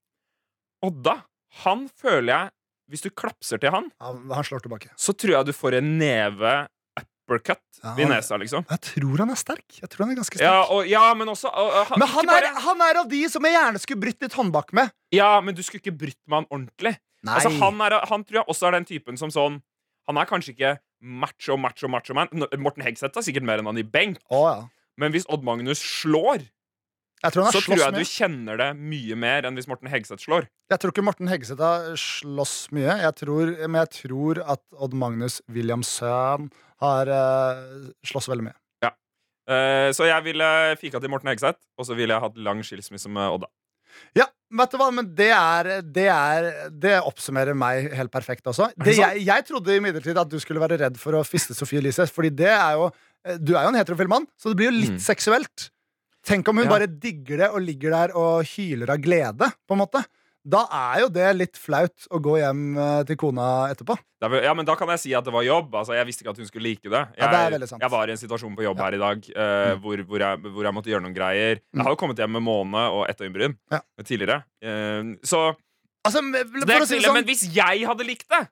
Speaker 2: Odda, han føler jeg Hvis du klapser til han,
Speaker 3: Ja, han slår tilbake.
Speaker 2: så tror jeg du får en neve uppercut
Speaker 3: Ja,
Speaker 2: i
Speaker 3: han-
Speaker 2: nesa, liksom.
Speaker 3: Jeg tror han er sterk. Jeg tror han er ganske sterk
Speaker 2: Ja, og, ja, men også og, og,
Speaker 3: Men
Speaker 2: ikke
Speaker 3: han er,
Speaker 2: bare-
Speaker 3: han er av de som jeg gjerne skulle brytt litt håndbak med.
Speaker 2: Ja, men du skulle ikke brytt med han ordentlig.
Speaker 3: Nei.
Speaker 2: Altså, han, er, han tror jeg også er den typen som sånn Han er kanskje ikke macho, macho, macho man. N- Morten Hegseth er sikkert mer enn han i benk,
Speaker 3: Å, ja.
Speaker 2: men hvis Odd Magnus slår,
Speaker 3: Jeg tror han
Speaker 2: så
Speaker 3: har
Speaker 2: tror
Speaker 3: slåss
Speaker 2: jeg du
Speaker 3: mye.
Speaker 2: kjenner det mye mer enn hvis Morten Hegseth slår.
Speaker 3: Jeg tror ikke Morten Hegseth har slåss mye, jeg tror, men jeg tror at Odd Magnus Williamson har eh, slåss veldig mye.
Speaker 2: Eh, så jeg ville fika til Morten Hegseth, og så ville jeg hatt lang skilsmisse med Odda.
Speaker 3: Ja, vet du hva, men det er Det, er, det oppsummerer meg helt perfekt også.
Speaker 2: det
Speaker 3: Det,
Speaker 2: sant?
Speaker 3: jeg, jeg trodde imidlertid at du skulle være redd for å fiste Sofie Elise, fordi det er jo eh, Du er jo en heterofil mann, så det blir jo litt
Speaker 2: Mm.
Speaker 3: seksuelt. Tenk om hun
Speaker 2: Ja.
Speaker 3: bare digger det og ligger der og hyler av glede, på en måte. Da er jo det litt flaut å gå hjem eh, til kona etterpå.
Speaker 2: Det er vel- Ja, men da kan jeg si at det var jobb. Altså, jeg visste ikke at hun skulle like det. Jeg,
Speaker 3: Ja, det er veldig sant. Mm.
Speaker 2: jeg var i en situasjon på jobb her i dag eh, hvor, hvor, jeg, hvor jeg måtte gjøre noen greier. Jeg har jo kommet hjem med måne og ett øyenbryn
Speaker 3: Ja.
Speaker 2: tidligere. Eh, så
Speaker 3: Altså, for
Speaker 2: det er
Speaker 3: å
Speaker 2: ikke
Speaker 3: si det
Speaker 2: ille,
Speaker 3: sånn,
Speaker 2: Men hvis jeg hadde likt det,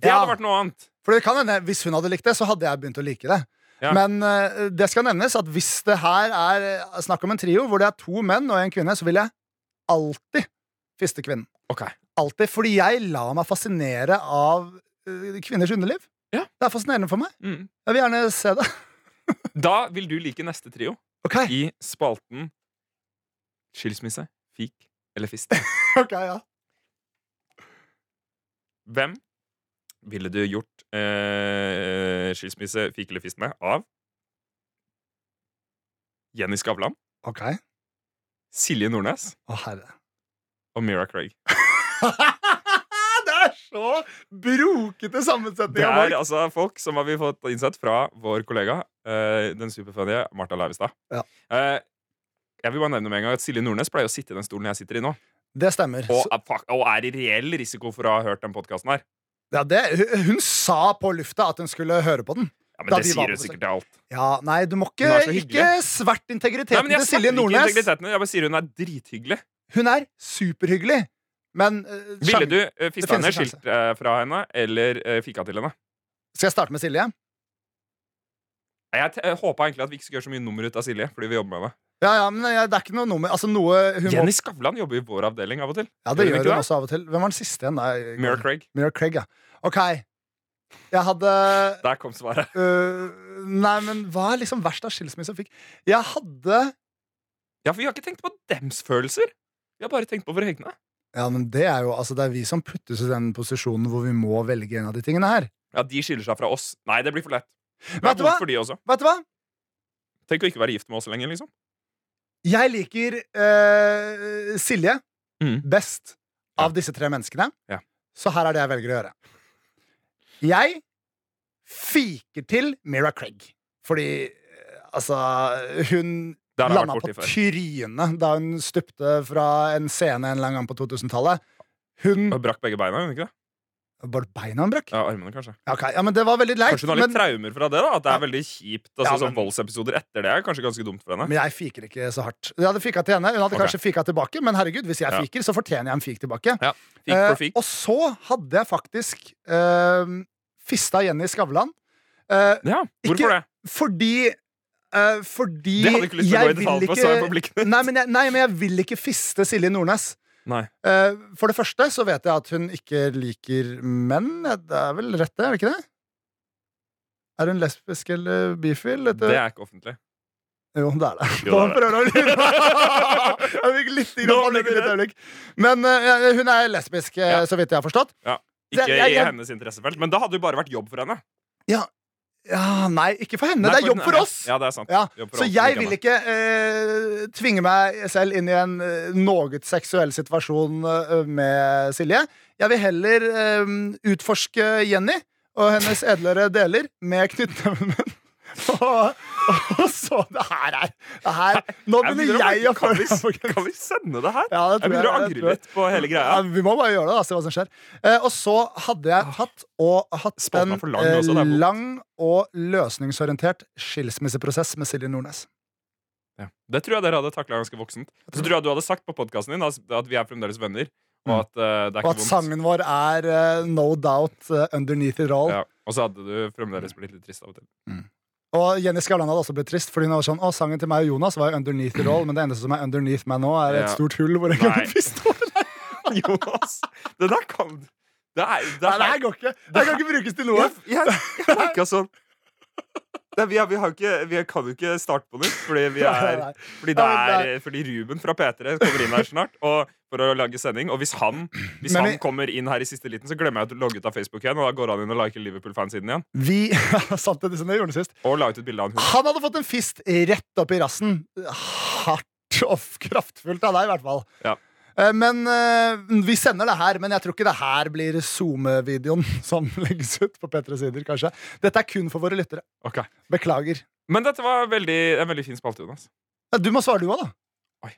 Speaker 2: det
Speaker 3: Ja.
Speaker 2: hadde vært noe annet.
Speaker 3: For det kan hende, Hvis hun hadde likt det, så hadde jeg begynt å like det.
Speaker 2: Ja.
Speaker 3: Men eh, det skal nevnes at hvis det her er eh, snakk om en trio hvor det er to menn og en kvinne, så vil jeg alltid fiste kvinnen.
Speaker 2: Ok.
Speaker 3: Alltid. Fordi jeg lar meg fascinere av eh, kvinners underliv.
Speaker 2: Ja.
Speaker 3: Det er fascinerende for meg.
Speaker 2: Mm.
Speaker 3: Jeg vil gjerne se det.
Speaker 2: Da vil du like neste trio
Speaker 3: Ok,
Speaker 2: i spalten Skilsmisse, fik eller fist.
Speaker 3: ok, ja.
Speaker 2: Hvem ville du gjort eh, skilsmisse, fik eller fist med av? Jenny Skavlan,
Speaker 3: Ok.
Speaker 2: Silje Nordnes
Speaker 3: Å, herre.
Speaker 2: og Mira Craig.
Speaker 3: det er så brokete
Speaker 2: Det
Speaker 3: sammensetning
Speaker 2: er
Speaker 3: av folk.
Speaker 2: altså folk som har vi fått innsett fra vår kollega, eh, den superfunnige Martha Leivestad.
Speaker 3: Ja.
Speaker 2: Eh, jeg vil bare nevne med en gang at Silje Nordnes pleier å sitte i den stolen jeg sitter i nå.
Speaker 3: Det stemmer.
Speaker 2: Og er, fak- og er i reell risiko for å ha hørt den podkasten her.
Speaker 3: Ja, det, hun- hun sa på lufta at hun skulle høre på den.
Speaker 2: Ja, men
Speaker 3: Da
Speaker 2: det
Speaker 3: de var
Speaker 2: sier
Speaker 3: på
Speaker 2: du
Speaker 3: besøk.
Speaker 2: sikkert til alt.
Speaker 3: Ja, nei, du må ikke,
Speaker 2: Hun er så hyggelig.
Speaker 3: ikke sverte integriteten
Speaker 2: Nei, men jeg
Speaker 3: til Silje
Speaker 2: snakker ikke
Speaker 3: Nordnes.
Speaker 2: integriteten. Jeg bare sier hun er drithyggelig.
Speaker 3: Hun er superhyggelig. Men eh,
Speaker 2: Ville
Speaker 3: sjang-
Speaker 2: du eh, fista
Speaker 3: finnes
Speaker 2: ned
Speaker 3: en
Speaker 2: skilt eh, fra henne, eller eh, fika til henne?
Speaker 3: Skal jeg starte med Silje?
Speaker 2: Nei, Jeg t- eh, håpa egentlig at vi ikke skulle gjøre så mye nummer ut av Silje. Fordi vi jobber med det
Speaker 3: Ja, ja, men jeg- det er ikke noe nummer Altså noe hun må
Speaker 2: Jenny Skavlan jobber i vår avdeling av og til.
Speaker 3: Ja, det
Speaker 2: Gjør hun
Speaker 3: gjør
Speaker 2: ikke
Speaker 3: hun
Speaker 2: det?
Speaker 3: også av og til. Hvem var den siste igjen? Nei,
Speaker 2: Mira Craig.
Speaker 3: Mira Craig, ja. Ok. Jeg hadde
Speaker 2: Der kom svaret.
Speaker 3: øh, Nei, men hva er liksom verst av skilsmisse jeg fikk? Jeg hadde
Speaker 2: Ja, for vi har ikke tenkt på dems følelser. Vi har bare tenkt på våre egne.
Speaker 3: Ja, men det er jo altså, Det er vi som puttes i den posisjonen hvor vi må velge en av de tingene her.
Speaker 2: Ja, de skiller seg fra oss. Nei, det blir for lett. Det
Speaker 3: Vet
Speaker 2: er
Speaker 3: du hva?
Speaker 2: vondt for de også.
Speaker 3: Vet du hva?
Speaker 2: Tenk å ikke være gift med oss lenger, liksom.
Speaker 3: Jeg liker øh, Silje
Speaker 2: Mm.
Speaker 3: best
Speaker 2: Ja.
Speaker 3: av disse tre menneskene.
Speaker 2: Ja.
Speaker 3: Så her er det jeg velger å gjøre. Jeg fiker til Mira Craig. Fordi øh, altså Hun
Speaker 2: Der har jeg vært
Speaker 3: landa på
Speaker 2: borti før.
Speaker 3: trynet da hun stupte fra en scene en eller annen gang på 2000-tallet. Hun
Speaker 2: Og brakk begge beina, gjorde hun ikke det?
Speaker 3: Var det beina hun brakk?
Speaker 2: Ja, armene, kanskje.
Speaker 3: Ja, ok. ja, men det var veldig leit.
Speaker 2: Kanskje hun har litt
Speaker 3: men-
Speaker 2: traumer fra det, da? At det er veldig kjipt. Altså,
Speaker 3: Ja,
Speaker 2: sånn
Speaker 3: men-
Speaker 2: Voldsepisoder etter det er kanskje ganske dumt for henne.
Speaker 3: Men jeg fiker ikke så hardt. Jeg hadde fika til henne. Hun hadde
Speaker 2: Ok.
Speaker 3: kanskje fika tilbake, men herregud, hvis jeg
Speaker 2: Ja.
Speaker 3: fiker, så fortjener jeg en fik tilbake.
Speaker 2: Ja, Fik for
Speaker 3: Eh,
Speaker 2: fik.
Speaker 3: og så hadde jeg faktisk eh, fista Jenny Skavlan. Eh,
Speaker 2: Ja,
Speaker 3: ikke-
Speaker 2: hvorfor det?
Speaker 3: fordi eh, Fordi
Speaker 2: Det hadde jeg ikke lyst til å gå i
Speaker 3: vil Eh,
Speaker 2: detalj på, sa jeg på blikkene.
Speaker 3: nei, men jeg, nei, men jeg vil ikke fiste Silje Nordnes.
Speaker 2: Nei.
Speaker 3: Eh, for det første så vet jeg at hun ikke liker menn. Det er vel rett, det? Er det ikke det? Er hun lesbisk eller bifil? Dette-
Speaker 2: Det er ikke offentlig.
Speaker 3: Jo, det er det.
Speaker 2: Jo,
Speaker 3: Nå
Speaker 2: det
Speaker 3: prøver jeg å lure Jeg fikk litt grann
Speaker 2: Nå ble
Speaker 3: panikk
Speaker 2: du
Speaker 3: i et øyeblikk. Men eh, hun er lesbisk, eh,
Speaker 2: Ja.
Speaker 3: så vidt jeg har forstått.
Speaker 2: Ikke
Speaker 3: jeg-
Speaker 2: i
Speaker 3: jeg-
Speaker 2: hennes interessefelt. Men da hadde det jo bare vært jobb for henne.
Speaker 3: Ja, Nei, ikke for henne. det er jobb for oss!
Speaker 2: Ja, det er sant.
Speaker 3: Ja,
Speaker 2: Jobb for
Speaker 3: Så
Speaker 2: oss,
Speaker 3: jeg
Speaker 2: ikke
Speaker 3: vil
Speaker 2: henne.
Speaker 3: ikke eh, tvinge meg selv inn i en eh, noe seksuell situasjon eh, med Silje. Jeg vil heller eh, utforske Jenny og hennes edlere deler med knyttneven min. og, og så Det her er det her, Nå
Speaker 2: Jeg
Speaker 3: begynner
Speaker 2: begynner å
Speaker 3: jeg å
Speaker 2: merke-
Speaker 3: føle
Speaker 2: kan, vi, kan vi sende det her?
Speaker 3: Ja, det
Speaker 2: Jeg begynner
Speaker 3: tror
Speaker 2: å
Speaker 3: jeg- jeg tror
Speaker 2: angre
Speaker 3: jeg-
Speaker 2: litt på hele greia.
Speaker 3: Ja, vi må bare gjøre det, da, se hva som skjer. Eh, og så hadde jeg tatt og hatt
Speaker 2: Spalten
Speaker 3: en
Speaker 2: er for lang
Speaker 3: eh,
Speaker 2: også, det er vondt.
Speaker 3: lang og løsningsorientert skilsmisseprosess med Silje Nordnes.
Speaker 2: Ja. Det tror jeg dere hadde takla ganske voksent. Så tror jeg du hadde sagt på podkasten din at at vi er fremdeles venner, og
Speaker 3: Mm.
Speaker 2: at eh, det er
Speaker 3: Og
Speaker 2: ikke
Speaker 3: at
Speaker 2: vondt.
Speaker 3: sangen vår er eh, No Doubt eh, Underneath It All.
Speaker 2: Ja. Og så hadde du fremdeles blitt litt trist av og til.
Speaker 3: Og Jenny Skavlan hadde også blitt trist, Fordi hun var sånn Å, sangen til meg og Jonas var jo Underneath It All, men det eneste som er underneath meg nå, er et
Speaker 2: Ja.
Speaker 3: stort hull hvor jeg
Speaker 2: Nei.
Speaker 3: kan bli pistol.
Speaker 2: Jonas! Det der kan Det er, det
Speaker 3: Nei,
Speaker 2: er,
Speaker 3: det her går ikke. Det her kan ikke brukes til noe.
Speaker 2: Jeg, jeg, jeg merka sånn Nei, vi, har, vi, har jo ikke, vi kan jo ikke starte på nytt, fordi, vi
Speaker 3: Nei,
Speaker 2: er,
Speaker 3: nei, nei.
Speaker 2: fordi, det
Speaker 3: Ja, men
Speaker 2: er, fordi Ruben fra P3 kommer inn her snart og, for å lage sending. Og hvis han, hvis
Speaker 3: Men
Speaker 2: han
Speaker 3: vi-
Speaker 2: kommer inn her i siste liten, så glemmer jeg å logge ut av Facebook igjen. Og da går han inn og liker Liverpool-fansiden igjen.
Speaker 3: Vi Sant det, som jeg gjorde sist.
Speaker 2: Og la ut et bilde av en hund.
Speaker 3: Han hadde fått en fist rett opp i rassen. Hardt og kraftfullt av deg, i hvert fall.
Speaker 2: Ja.
Speaker 3: Eh, Men eh, Vi sender det her, men jeg tror ikke det her blir SoMe-videoen som legges ut på P3 Sider, kanskje. Dette er kun for våre lyttere.
Speaker 2: Ok.
Speaker 3: Beklager.
Speaker 2: Men dette var veldig, en veldig fin spalte, Jonas.
Speaker 3: Ja, Du må svare, du òg, da.
Speaker 2: Oi.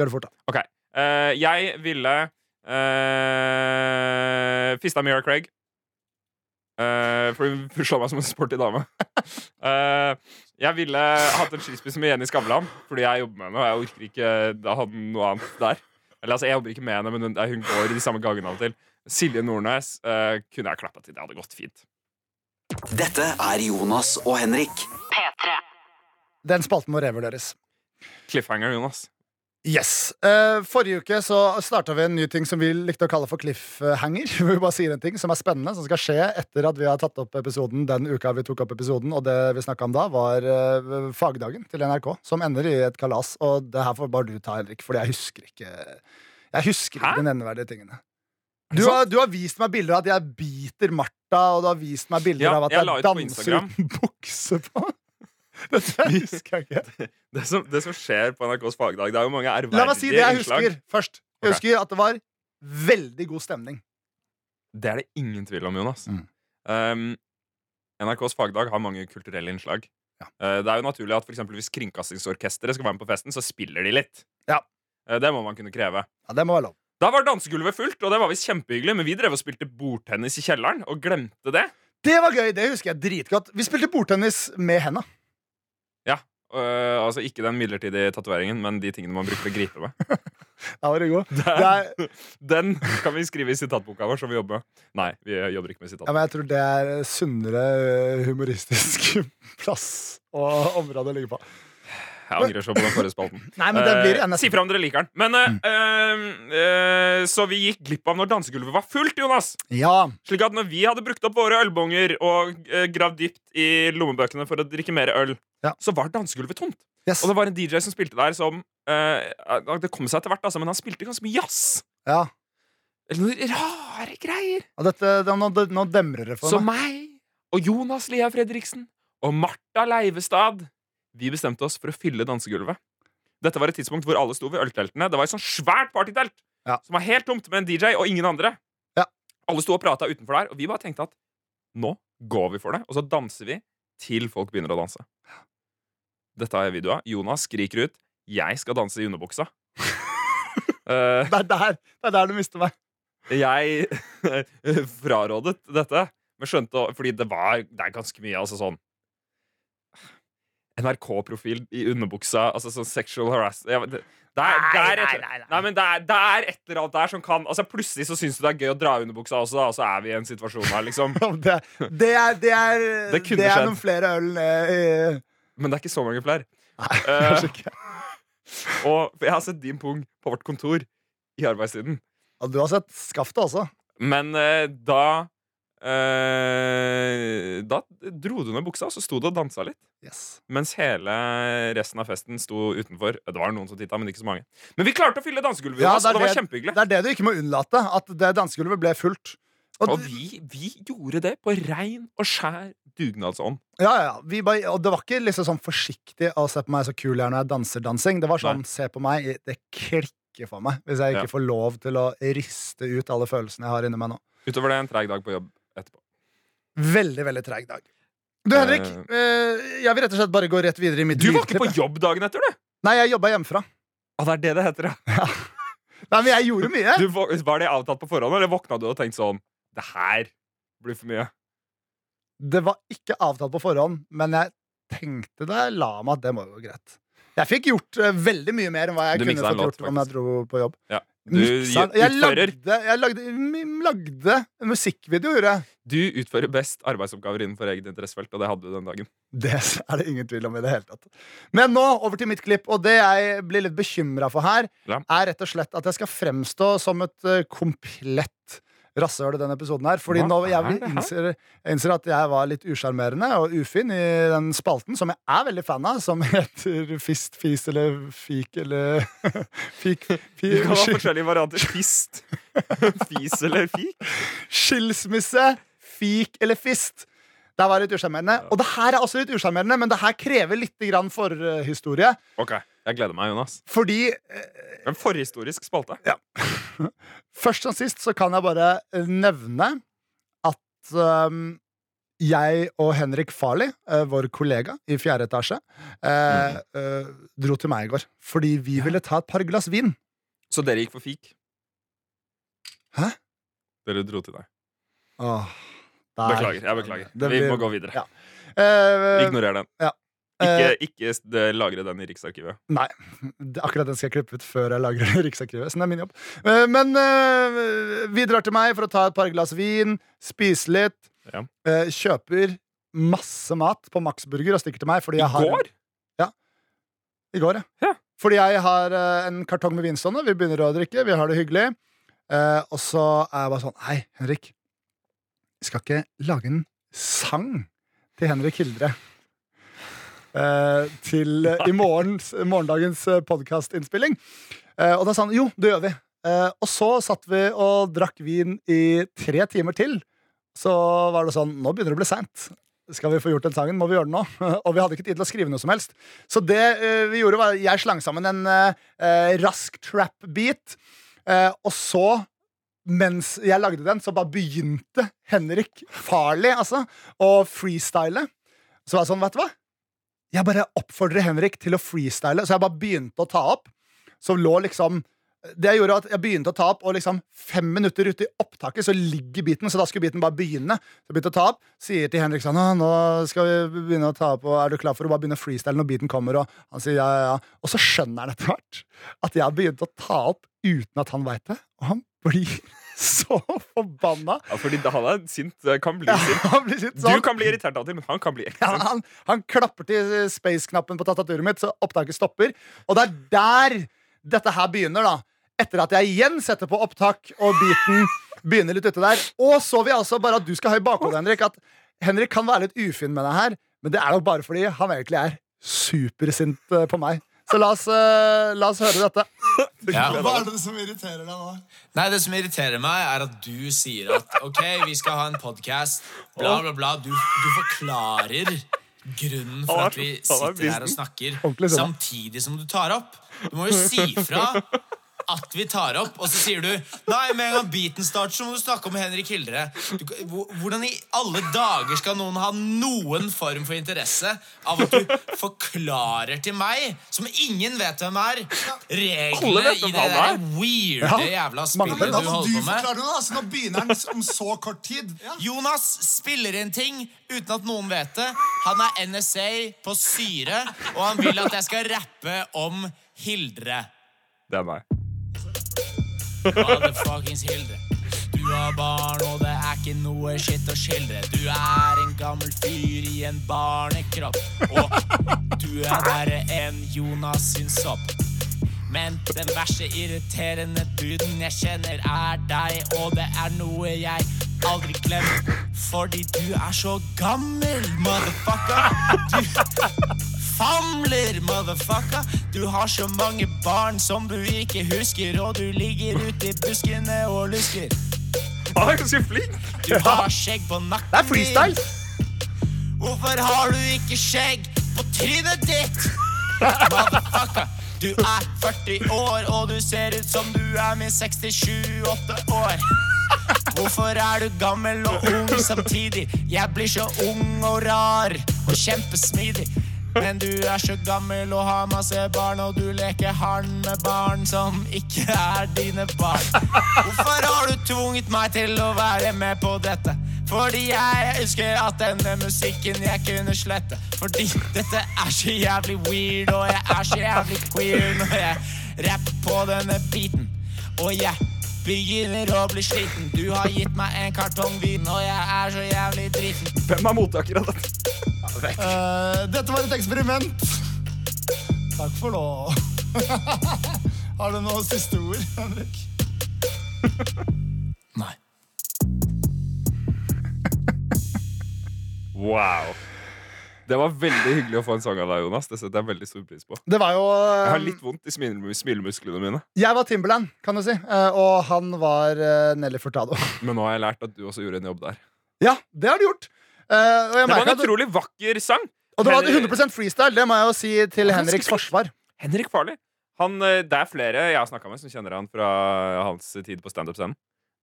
Speaker 3: Gjør det fort, da.
Speaker 2: Eh, jeg ville uh, fista Mira Craig. Eh, for hun slår meg som en sporty dame. Eh, jeg ville hatt en skispiss med Jenny Skavlan, fordi jeg jobber med henne. Og jeg orker ikke ha noe annet der. Eller altså, jeg jobber ikke med henne, men hun, hun går i de samme gangene av og til. Silje Nordnes eh, kunne jeg klappa til. Det hadde gått fint.
Speaker 1: Dette er Jonas og Henrik.
Speaker 3: Den spalten må revurderes.
Speaker 2: Cliffhanger, Jonas.
Speaker 3: Yes. Eh, forrige uke så starta vi en ny ting som vi likte å kalle for cliffhanger. Hvor vi bare sier en ting som er spennende, som skal skje etter at vi har tatt opp episoden den uka vi tok opp episoden. Og det vi snakka om da, var eh, fagdagen til NRK, som ender i et kalas. Og det her får bare du ta, Henrik, fordi jeg husker ikke Jeg husker
Speaker 2: Hæ?
Speaker 3: ikke de nevneverdige tingene.
Speaker 2: Er det
Speaker 3: Du har, du har vist meg bilder av at jeg biter Martha, og du har vist meg bilder
Speaker 2: Ja,
Speaker 3: av at
Speaker 2: jeg
Speaker 3: jeg,
Speaker 2: la ut på
Speaker 3: danser
Speaker 2: Instagram.
Speaker 3: uten bukse på. Dette husker jeg ikke.
Speaker 2: Det som, det som skjer på NRKs fagdag, det er jo mange
Speaker 3: La meg si det
Speaker 2: ærverdige
Speaker 3: jeg
Speaker 2: innslag.
Speaker 3: husker først. Jeg
Speaker 2: Ok.
Speaker 3: husker at det var veldig god stemning.
Speaker 2: Det er det ingen tvil om, Jonas.
Speaker 3: Mm.
Speaker 2: Um, NRKs fagdag har mange kulturelle innslag.
Speaker 3: Ja.
Speaker 2: Uh, det er jo naturlig at for eksempel Hvis Kringkastingsorkesteret skal være med på festen, så spiller de litt.
Speaker 3: Ja.
Speaker 2: Uh, det må man kunne kreve.
Speaker 3: Ja, det må være lov.
Speaker 2: Da var dansegulvet fullt, og det var visst kjempehyggelig, men vi drev og spilte bordtennis i kjelleren og glemte det.
Speaker 3: Det var gøy, det husker jeg dritgodt. Vi spilte bordtennis med henda.
Speaker 2: Øh, altså Ikke den midlertidige tatoveringen, men de tingene man bruker å gripe med.
Speaker 3: Da var du god. Det er,
Speaker 2: Den kan vi skrive i sitatboka vår, som vi jobber med. Nei, vi jobber ikke med
Speaker 3: ja,
Speaker 2: sitat.
Speaker 3: men jeg tror det er sunnere eh, humoristisk plass og område å ligge på.
Speaker 2: Jeg angrer så på den forrige spalten.
Speaker 3: Nei, men det blir
Speaker 2: Eh,
Speaker 3: en
Speaker 2: Si fra om dere liker den. Men eh,
Speaker 3: Mm.
Speaker 2: eh, Så vi gikk glipp av når dansegulvet var fullt, Jonas.
Speaker 3: Ja.
Speaker 2: Slik at når vi hadde brukt opp våre ølbonger og eh, gravd dypt i lommebøkene for å drikke mer øl,
Speaker 3: Ja.
Speaker 2: så var dansegulvet tomt.
Speaker 3: Yes.
Speaker 2: Og det var en DJ som spilte der som eh, Det kom seg etter hvert, altså, men han spilte ganske mye jazz.
Speaker 3: ja.
Speaker 2: Eller noen rare greier.
Speaker 3: Og dette, da- nå, nå demrer det for
Speaker 2: Så
Speaker 3: meg.
Speaker 2: meg og Jonas Lia Fredriksen og Martha Leivestad Vi bestemte oss for å fylle dansegulvet. Dette var et tidspunkt hvor alle sto ved ølteltene. Det var et sånn svært partytelt
Speaker 3: Ja.
Speaker 2: som var helt tomt med en DJ og ingen andre.
Speaker 3: Ja.
Speaker 2: Alle sto og prata utenfor der, og vi bare tenkte at nå går vi for det. Og så danser vi til folk begynner å danse. Dette har jeg video av. Jonas skriker ut 'Jeg skal danse i underbuksa'. Eh,
Speaker 3: Det er der, det er der du mister meg.
Speaker 2: jeg frarådet dette, men skjønte å- Fordi det var Det er ganske mye, altså sånn NRK-profil i underbuksa, altså sånn sexual harass ja, men det, det er, det er et, nei, men det er, det er et eller annet der som kan Altså Plutselig så syns du det er gøy å dra i underbuksa også, da, og så er vi i en situasjon her, liksom.
Speaker 3: Det, det er, det er,
Speaker 2: Det kunne
Speaker 3: det er
Speaker 2: skjedd.
Speaker 3: noen flere øl ned i
Speaker 2: Men det er ikke så mange flere.
Speaker 3: Kanskje ikke.
Speaker 2: Eh, og for jeg har sett din pung på vårt kontor i arbeidstiden.
Speaker 3: Ja, Du har sett skaftet også.
Speaker 2: Men eh, da eh, Da dro du ned buksa, og så sto du og dansa litt.
Speaker 3: Yes.
Speaker 2: Mens hele resten av festen sto utenfor. Det var noen som tittet, men ikke så mange. Men vi klarte å fylle dansegulvet,
Speaker 3: Ja,
Speaker 2: Jonas,
Speaker 3: det er
Speaker 2: og det var
Speaker 3: det-
Speaker 2: kjempehyggelig.
Speaker 3: Det er det du ikke må unnlate. At det dansegulvet ble fullt. Og,
Speaker 2: Og vi, vi gjorde det på rein og skjær dugnadsånd.
Speaker 3: ja, ja, vi bare, og det var ikke liksom sånn forsiktig å se på meg så kul jeg er når jeg danser dansing. Det var sånn, se på meg, det klikker for meg hvis jeg
Speaker 2: Ja.
Speaker 3: ikke får lov til å riste ut alle følelsene jeg har inni meg nå.
Speaker 2: Utover det en treig dag på jobb etterpå.
Speaker 3: Veldig, veldig treg dag. Du, Henrik, eh, jeg vil rett og slett bare gå rett videre i mitt
Speaker 2: Du var ikke
Speaker 3: lydklipp,
Speaker 2: på
Speaker 3: jeg.
Speaker 2: jobb dagen etter, du!
Speaker 3: Nei, jeg jobba hjemmefra.
Speaker 2: Ja, det er det det heter, ja.
Speaker 3: Nei, men jeg gjorde mye.
Speaker 2: Du, vå- var det avtalt på forhånd, eller våkna du og tenkte sånn Det her blir for mye.
Speaker 3: Det var ikke avtalt på forhånd, men jeg tenkte da jeg la meg at det må jo gå greit. Jeg fikk gjort eh, veldig mye mer enn hva jeg
Speaker 2: Du miksa
Speaker 3: kunne
Speaker 2: en
Speaker 3: fått
Speaker 2: låt,
Speaker 3: gjort om jeg dro på jobb.
Speaker 2: Ja. Du
Speaker 3: Miksa den. jeg
Speaker 2: utfører,
Speaker 3: lagde, jeg lagde, m- lagde en musikkvideo, gjorde jeg.
Speaker 2: du utfører best arbeidsoppgaver innenfor eget interessefelt, og det hadde du den dagen.
Speaker 3: Det er det ingen tvil om i det hele tatt. Men nå over til mitt klipp, og det jeg blir litt bekymra for her,
Speaker 2: Ja.
Speaker 3: er rett og slett at jeg skal fremstå som et eh, komplett rasshøl i denne episoden her. Fordi
Speaker 2: Hva
Speaker 3: nå
Speaker 2: er
Speaker 3: jeg
Speaker 2: det her?
Speaker 3: innser, jeg innser at jeg var litt usjarmerende og ufin i den spalten som jeg er veldig fan av, som heter Fist, Fis eller Fik eller Fik,
Speaker 2: Du kan ha
Speaker 3: fik
Speaker 2: forskjellige varianter. Fist, fis eller fik.
Speaker 3: Skilsmisse, fik eller fist. Det var litt usjarmerende. Og det her er også litt usjarmerende, men det her krever litt grann forhistorie.
Speaker 2: Ok, jeg gleder meg, Jonas.
Speaker 3: Fordi eh,
Speaker 2: En forhistorisk spalte.
Speaker 3: Først som sist så kan jeg bare nevne at um, jeg og Henrik Farley, eh, vår kollega i fjerde etasje,
Speaker 2: Mm.
Speaker 3: eh, eh, dro til meg i går. Fordi vi ville ta et par glass vin.
Speaker 2: Så dere gikk for fik?
Speaker 3: Hæ?
Speaker 2: Dere dro til deg.
Speaker 3: Åh, der.
Speaker 2: Beklager. jeg beklager
Speaker 3: Det
Speaker 2: Vi
Speaker 3: blir-
Speaker 2: må gå videre.
Speaker 3: Ja. Eh,
Speaker 2: Ignorer den.
Speaker 3: Ja.
Speaker 2: Ikke, ikke s- de- lagre den i Riksarkivet.
Speaker 3: Nei. det- Akkurat den skal jeg klippe ut før jeg lager Riksarkivet. Så det er min jobb. Eh, Men eh, vi drar til meg for å ta et par glass vin, spise litt,
Speaker 2: Ja.
Speaker 3: eh, kjøper masse mat på Max Burger og stikker til meg. Fordi
Speaker 2: I
Speaker 3: jeg har,
Speaker 2: går?
Speaker 3: I går, ja.
Speaker 2: Ja.
Speaker 3: Fordi jeg har eh, en kartong med vinstående. Vi begynner å drikke, vi har det hyggelig. Eh, og så er jeg bare sånn Hei, Henrik. Vi skal ikke lage en sang til Henrik Hildre. eh, til eh, i morgens, morgendagens eh, podkastinnspilling. Eh, og da sa han jo, det gjør vi. Eh, og så satt vi og drakk vin i tre timer til. Så var det sånn Nå begynner det å bli seint. Skal vi få gjort den sangen, må vi gjøre den nå. og vi hadde ikke tid til å skrive noe som helst. Så det eh, vi gjorde, var jeg slang sammen en eh, eh, rask trap-beat. eh, og så, mens jeg lagde den, så bare begynte Henrik Farley altså, å freestyle. Så var jeg sånn, vet du hva? Jeg bare oppfordrer Henrik til å freestyle. Så jeg bare begynte å ta opp. Så lå liksom Det gjorde at jeg begynte å ta opp, og liksom fem minutter ute i opptaket så ligger beaten, så da skulle beaten bare begynne. Så jeg begynte å ta opp, sier til Henrik sånn «Å, Nå skal vi begynne å ta opp, og er du klar for å bare begynne å freestyle når beaten kommer? Og han sier ja, ja, ja. Og så skjønner han etter hvert at jeg har begynt å ta opp uten at han veit det, og han blir så forbanna.
Speaker 2: Ja, fordi da han er sint, eh, kan bli sint.
Speaker 3: Han blir
Speaker 2: Du
Speaker 3: litt sånn.
Speaker 2: kan bli irritert av og til, men han kan bli
Speaker 3: Ja,
Speaker 2: ekstra sint.
Speaker 3: han, han klapper til space-knappen på tastaturet mitt, så opptaket stopper. Og det er der dette her begynner, da. Etter at jeg igjen setter på opptak, og beaten begynner litt ute der. Og så vil jeg altså bare at du skal ha i bakhodet, Henrik, at Henrik kan være litt ufin med deg her, men det er nok bare fordi han egentlig er supersint eh, på meg. Så la oss, eh, la oss høre dette.
Speaker 4: Ja.
Speaker 5: Hva er det som irriterer deg nå?
Speaker 4: Nei, det som irriterer meg, er at du sier at OK, vi skal ha en podkast, bla, bla, bla. Du, du forklarer grunnen for at vi sitter her og snakker,
Speaker 3: Ordentlig sinne.
Speaker 4: samtidig som du tar opp. Du må jo si fra at vi tar opp, og så sier du Nei, med en gang beaten starter, så må du snakke om Henrik Hildre. Du, hvor- hvordan i alle dager skal noen ha noen form for interesse av at du forklarer til meg, som ingen vet hvem er,
Speaker 2: Alle
Speaker 4: reglene
Speaker 2: vet
Speaker 4: i det
Speaker 2: hvem han er.
Speaker 4: der weirde
Speaker 3: Ja.
Speaker 4: jævla spillet
Speaker 5: Men
Speaker 4: du
Speaker 5: da må du
Speaker 4: holder på med.
Speaker 5: forklare det, da. Altså, nå begynner han om så kort tid.
Speaker 4: Jonas spiller inn ting uten at noen vet det. Han er NSA på syre, og han vil at jeg skal rappe om Hildre.
Speaker 2: Det er meg.
Speaker 4: Motherfuckings Hildre. Du har barn, og det er ikke noe shit å skildre. Du er en gammel fyr i en barnekropp. Og du er bare en Jonas sin sopp. Men den verste irriterende duden jeg kjenner, er deg. Og det er noe jeg aldri glemmer, fordi du er så gammel, motherfucker. Du famler, motherfucker. Du har så mange barn som du ikke husker, og du ligger ute i buskene og lusker.
Speaker 2: Han er ganske flink!
Speaker 4: Du har skjegg på nakken
Speaker 3: Det er freestyle!
Speaker 4: Hvorfor har du ikke skjegg på trynet ditt? Motherfucker, du er 40 år, og du ser ut som du er min 67-8 år. Hvorfor er du gammel og ung samtidig? Jeg blir så ung og rar og kjempesmidig. Men du er så gammel og har masse barn, og du leker hard med barn som ikke er dine barn. Hvorfor har du tvunget meg til å være med på dette? Fordi jeg ønsker at denne musikken jeg kunne slette. Fordi dette er så jævlig weird, og jeg er så jævlig queer når jeg rapper på denne beaten. Og jeg begynner å bli sliten. Du har gitt meg en kartong vin, og jeg er så jævlig driten.
Speaker 2: Hvem er mottaker av dette?
Speaker 5: Eh, dette var et eksperiment. Takk for nå. Har du noe siste ord, Henrik?
Speaker 4: Nei.
Speaker 2: Wow. Det var veldig hyggelig å få en sang av deg, Jonas. Det setter jeg veldig stor pris på.
Speaker 3: Det var jo eh,
Speaker 2: Jeg
Speaker 3: Um,
Speaker 2: har litt vondt i smil- smilemusklene mine,
Speaker 3: Jeg var Timberland, kan du si. eh, Og han var eh, Nelly Furtado.
Speaker 2: men nå har jeg lært at du også gjorde en jobb der.
Speaker 3: Ja, det har du gjort. Eh, og jeg
Speaker 2: Det var
Speaker 3: merker
Speaker 2: en
Speaker 3: at du-
Speaker 2: utrolig vakker sang.
Speaker 3: Og det var
Speaker 2: Henrik-
Speaker 3: 100 freestyle, det må jeg jo si
Speaker 2: Han
Speaker 3: til
Speaker 2: er
Speaker 3: Henriks
Speaker 2: sikkert-
Speaker 3: forsvar.
Speaker 2: Henrik Farley. Han, eh, det er flere jeg har snakka med, som kjenner han fra hans tid på standup-scenen.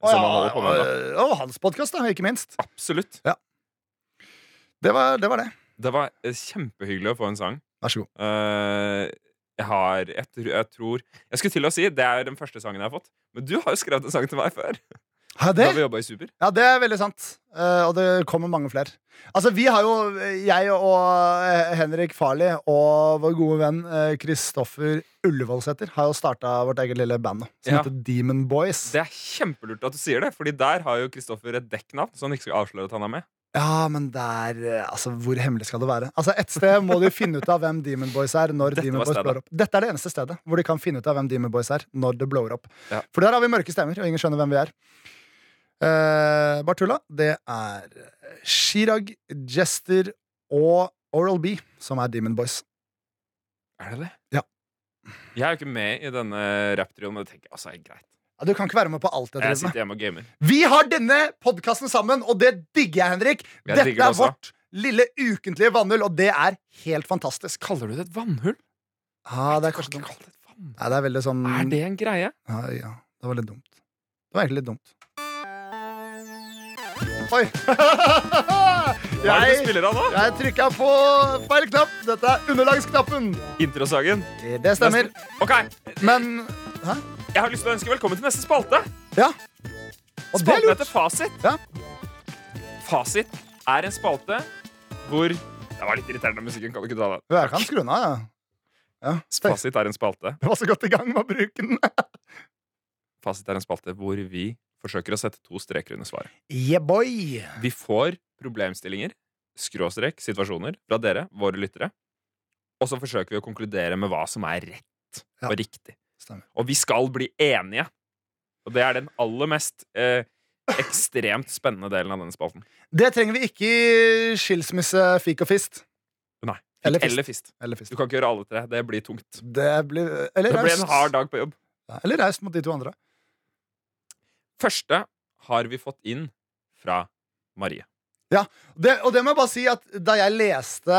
Speaker 3: Og,
Speaker 2: Som han holder på med nå.
Speaker 3: ja, og hans podkast, da, ikke minst.
Speaker 2: Absolutt.
Speaker 3: Det var, det var det.
Speaker 2: Det var eh, kjempehyggelig å få en sang.
Speaker 3: Vær så god.
Speaker 2: Eh, jeg har jeg, tr- jeg tror Jeg skulle til å si det er den første sangen jeg har fått. Men du har jo skrevet en sang til meg før.
Speaker 3: Ja,
Speaker 2: Da vi
Speaker 3: det,
Speaker 2: jobbet i Super.
Speaker 3: ja, det er veldig sant. Eh, og det kommer mange flere. Altså, vi har jo, jeg og eh, Henrik Farley og vår gode venn eh, Kristoffer Ullevålsæter har jo starta vårt eget lille band nå, som
Speaker 2: Ja.
Speaker 3: heter Demon Boys.
Speaker 2: Det er kjempelurt at du sier det, Fordi der har jo Kristoffer et dekknavn, så han ikke skal avsløre at han er med.
Speaker 3: Ja, men der, eh, altså, hvor hemmelig skal det være? Altså, Et sted må de finne ut av hvem Demon Boys er når
Speaker 2: Dette
Speaker 3: Demon
Speaker 2: var
Speaker 3: Boys
Speaker 2: stedet.
Speaker 3: blår opp. Dette er det eneste stedet hvor de kan finne ut av hvem Demon Boys er når det blower opp.
Speaker 2: Ja.
Speaker 3: For der har vi mørke stemmer, og ingen skjønner hvem vi er. Eh, Bartula, det er Chirag, Jester og Oral B som er Demon Boys.
Speaker 2: Er det det?
Speaker 3: Ja.
Speaker 2: Jeg er jo ikke med i denne rapptrioen, men det tenker jeg altså er greit.
Speaker 3: Ja, du kan ikke være med på alt jeg
Speaker 2: Jeg
Speaker 3: driver med.
Speaker 2: sitter hjemme og gamer.
Speaker 3: Vi har denne podkasten sammen, og det digger jeg, Henrik.
Speaker 2: Jeg
Speaker 3: Dette
Speaker 2: digger det
Speaker 3: er
Speaker 2: også.
Speaker 3: vårt lille ukentlige vannhull, og det er helt fantastisk.
Speaker 2: Kaller du det et vannhull?
Speaker 3: Ja, det er kanskje
Speaker 2: Kan ikke
Speaker 3: dumt.
Speaker 2: kalle det et vannhull.
Speaker 3: Nei, det er veldig sånn
Speaker 2: Er det en greie?
Speaker 3: Ja, ja, det var litt dumt. Det var egentlig litt dumt. Oi!
Speaker 2: Hva er det du
Speaker 3: jeg
Speaker 2: spiller av nå?
Speaker 3: jeg trykka på feil knapp. Dette er underlagsknappen.
Speaker 2: Introsangen.
Speaker 3: Det stemmer.
Speaker 2: Ok,
Speaker 3: Men Hæ?
Speaker 2: Jeg har lyst til å ønske velkommen til neste spalte.
Speaker 3: Ja. Og det er
Speaker 2: Spalten
Speaker 3: lurt.
Speaker 2: heter Fasit.
Speaker 3: Ja.
Speaker 2: Fasit er en spalte hvor Det var litt irriterende, musikken kan du ikke dra den.
Speaker 3: Jeg kan skru den av, jeg. Ja.
Speaker 2: Fasit er en spalte
Speaker 3: Jeg var så godt i gang med å bruke den.
Speaker 2: Fasit er en spalte hvor vi forsøker å sette to streker under svaret.
Speaker 3: Yeah, boy.
Speaker 2: Vi får problemstillinger, skråstrek, situasjoner fra dere, våre lyttere. Og så forsøker vi å konkludere med hva som er rett
Speaker 3: Ja.
Speaker 2: og riktig.
Speaker 3: Stemmer.
Speaker 2: Og vi skal bli enige. Og det er den aller mest eh, ekstremt spennende delen av denne spalten.
Speaker 3: Det trenger vi ikke i skilsmisse, fik og fist.
Speaker 2: Nei.
Speaker 3: Eller fist.
Speaker 2: Eller fist. Du
Speaker 3: Eller fist.
Speaker 2: kan ikke gjøre alle tre. Det blir tungt.
Speaker 3: Det blir
Speaker 2: Det
Speaker 3: Eller
Speaker 2: blir en hard
Speaker 3: raust.
Speaker 2: dag på jobb.
Speaker 3: Ja, Eller raust mot de to andre.
Speaker 2: Første har vi fått inn fra Marie.
Speaker 3: Det, og det må jeg bare si at da jeg leste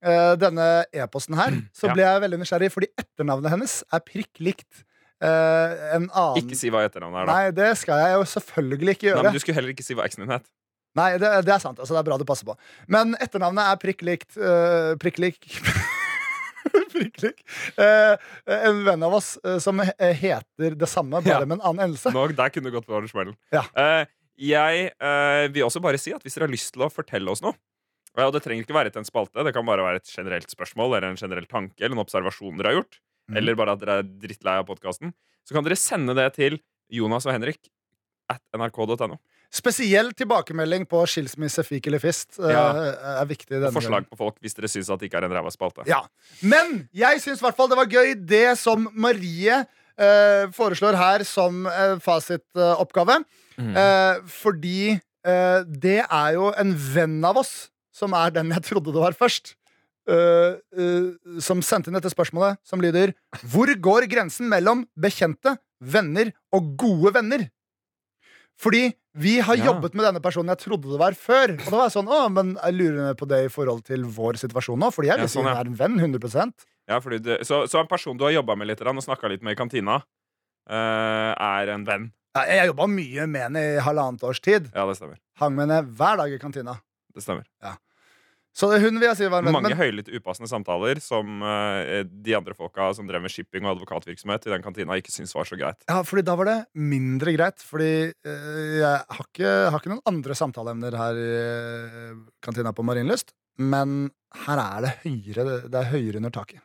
Speaker 3: eh, denne e-posten her, så
Speaker 2: Ja.
Speaker 3: ble jeg veldig nysgjerrig, fordi etternavnet hennes er prikk likt eh, en annen
Speaker 2: Ikke si hva etternavnet er, da.
Speaker 3: Nei, det skal jeg jo selvfølgelig
Speaker 2: Nei,
Speaker 3: ikke gjøre.
Speaker 2: men du skulle heller ikke si hva eksen din het.
Speaker 3: Nei, det, det er sant. altså Det er bra du passer på. Men etternavnet er prikk likt eh, Prikk lik Prikk lik eh, En venn av oss eh, som he- heter det samme, bare
Speaker 2: Ja.
Speaker 3: med en annen endelse.
Speaker 2: Nå, der kunne du gått på Anders Mellen.
Speaker 3: Ja.
Speaker 2: Eh, jeg eh, vil også bare si at hvis dere har lyst til å fortelle oss noe eh, Og det trenger ikke være til en spalte, det kan bare være et generelt spørsmål eller en generell tanke eller en observasjon dere har gjort,
Speaker 3: Mhm.
Speaker 2: eller bare at dere er drittlei av podkasten, så kan dere sende det til Jonas og Henrik at nrk.no.
Speaker 3: Spesiell tilbakemelding på skilsmisse, fik eller fist eh,
Speaker 2: Ja.
Speaker 3: er viktig. denne
Speaker 2: Og forslag på folk hvis dere syns at det ikke er en ræva spalte.
Speaker 3: Ja. Men jeg syns i hvert fall det var gøy, det som Marie eh, foreslår her som eh, fasitoppgave. Eh, fordi eh, det er jo en venn av oss som er den jeg trodde det var først. eh, eh, som sendte inn dette spørsmålet, som lyder Hvor går grensen mellom bekjente, venner og gode venner? Fordi vi har
Speaker 2: Ja.
Speaker 3: jobbet med denne personen jeg trodde det var før. Og da var jeg sånn, å, men jeg lurer på det i forhold til vår situasjon nå, fordi jeg
Speaker 2: Ja,
Speaker 3: vil si
Speaker 2: sånn,
Speaker 3: hun
Speaker 2: ja.
Speaker 3: er en venn, 100
Speaker 2: Ja, fordi du, så, så en person du har jobba med litt grann og snakka litt med i kantina, eh, er en venn.
Speaker 3: Ja, Jeg jobba mye med henne i halvannet års tid.
Speaker 2: Ja, det stemmer.
Speaker 3: Hang med henne hver dag i kantina.
Speaker 2: Det stemmer.
Speaker 3: Så det- hun vil jeg si var en venn.
Speaker 2: Mange
Speaker 3: Men,
Speaker 2: høylytte upassende samtaler som eh, de andre folka som drev med shipping og advokatvirksomhet i den kantina, ikke syntes var så greit.
Speaker 3: ja, fordi da var det mindre greit, fordi eh, jeg har ikke, har ikke noen andre samtaleemner her i eh, kantina på Marienlyst. Men her er det høyere, det er høyere under taket.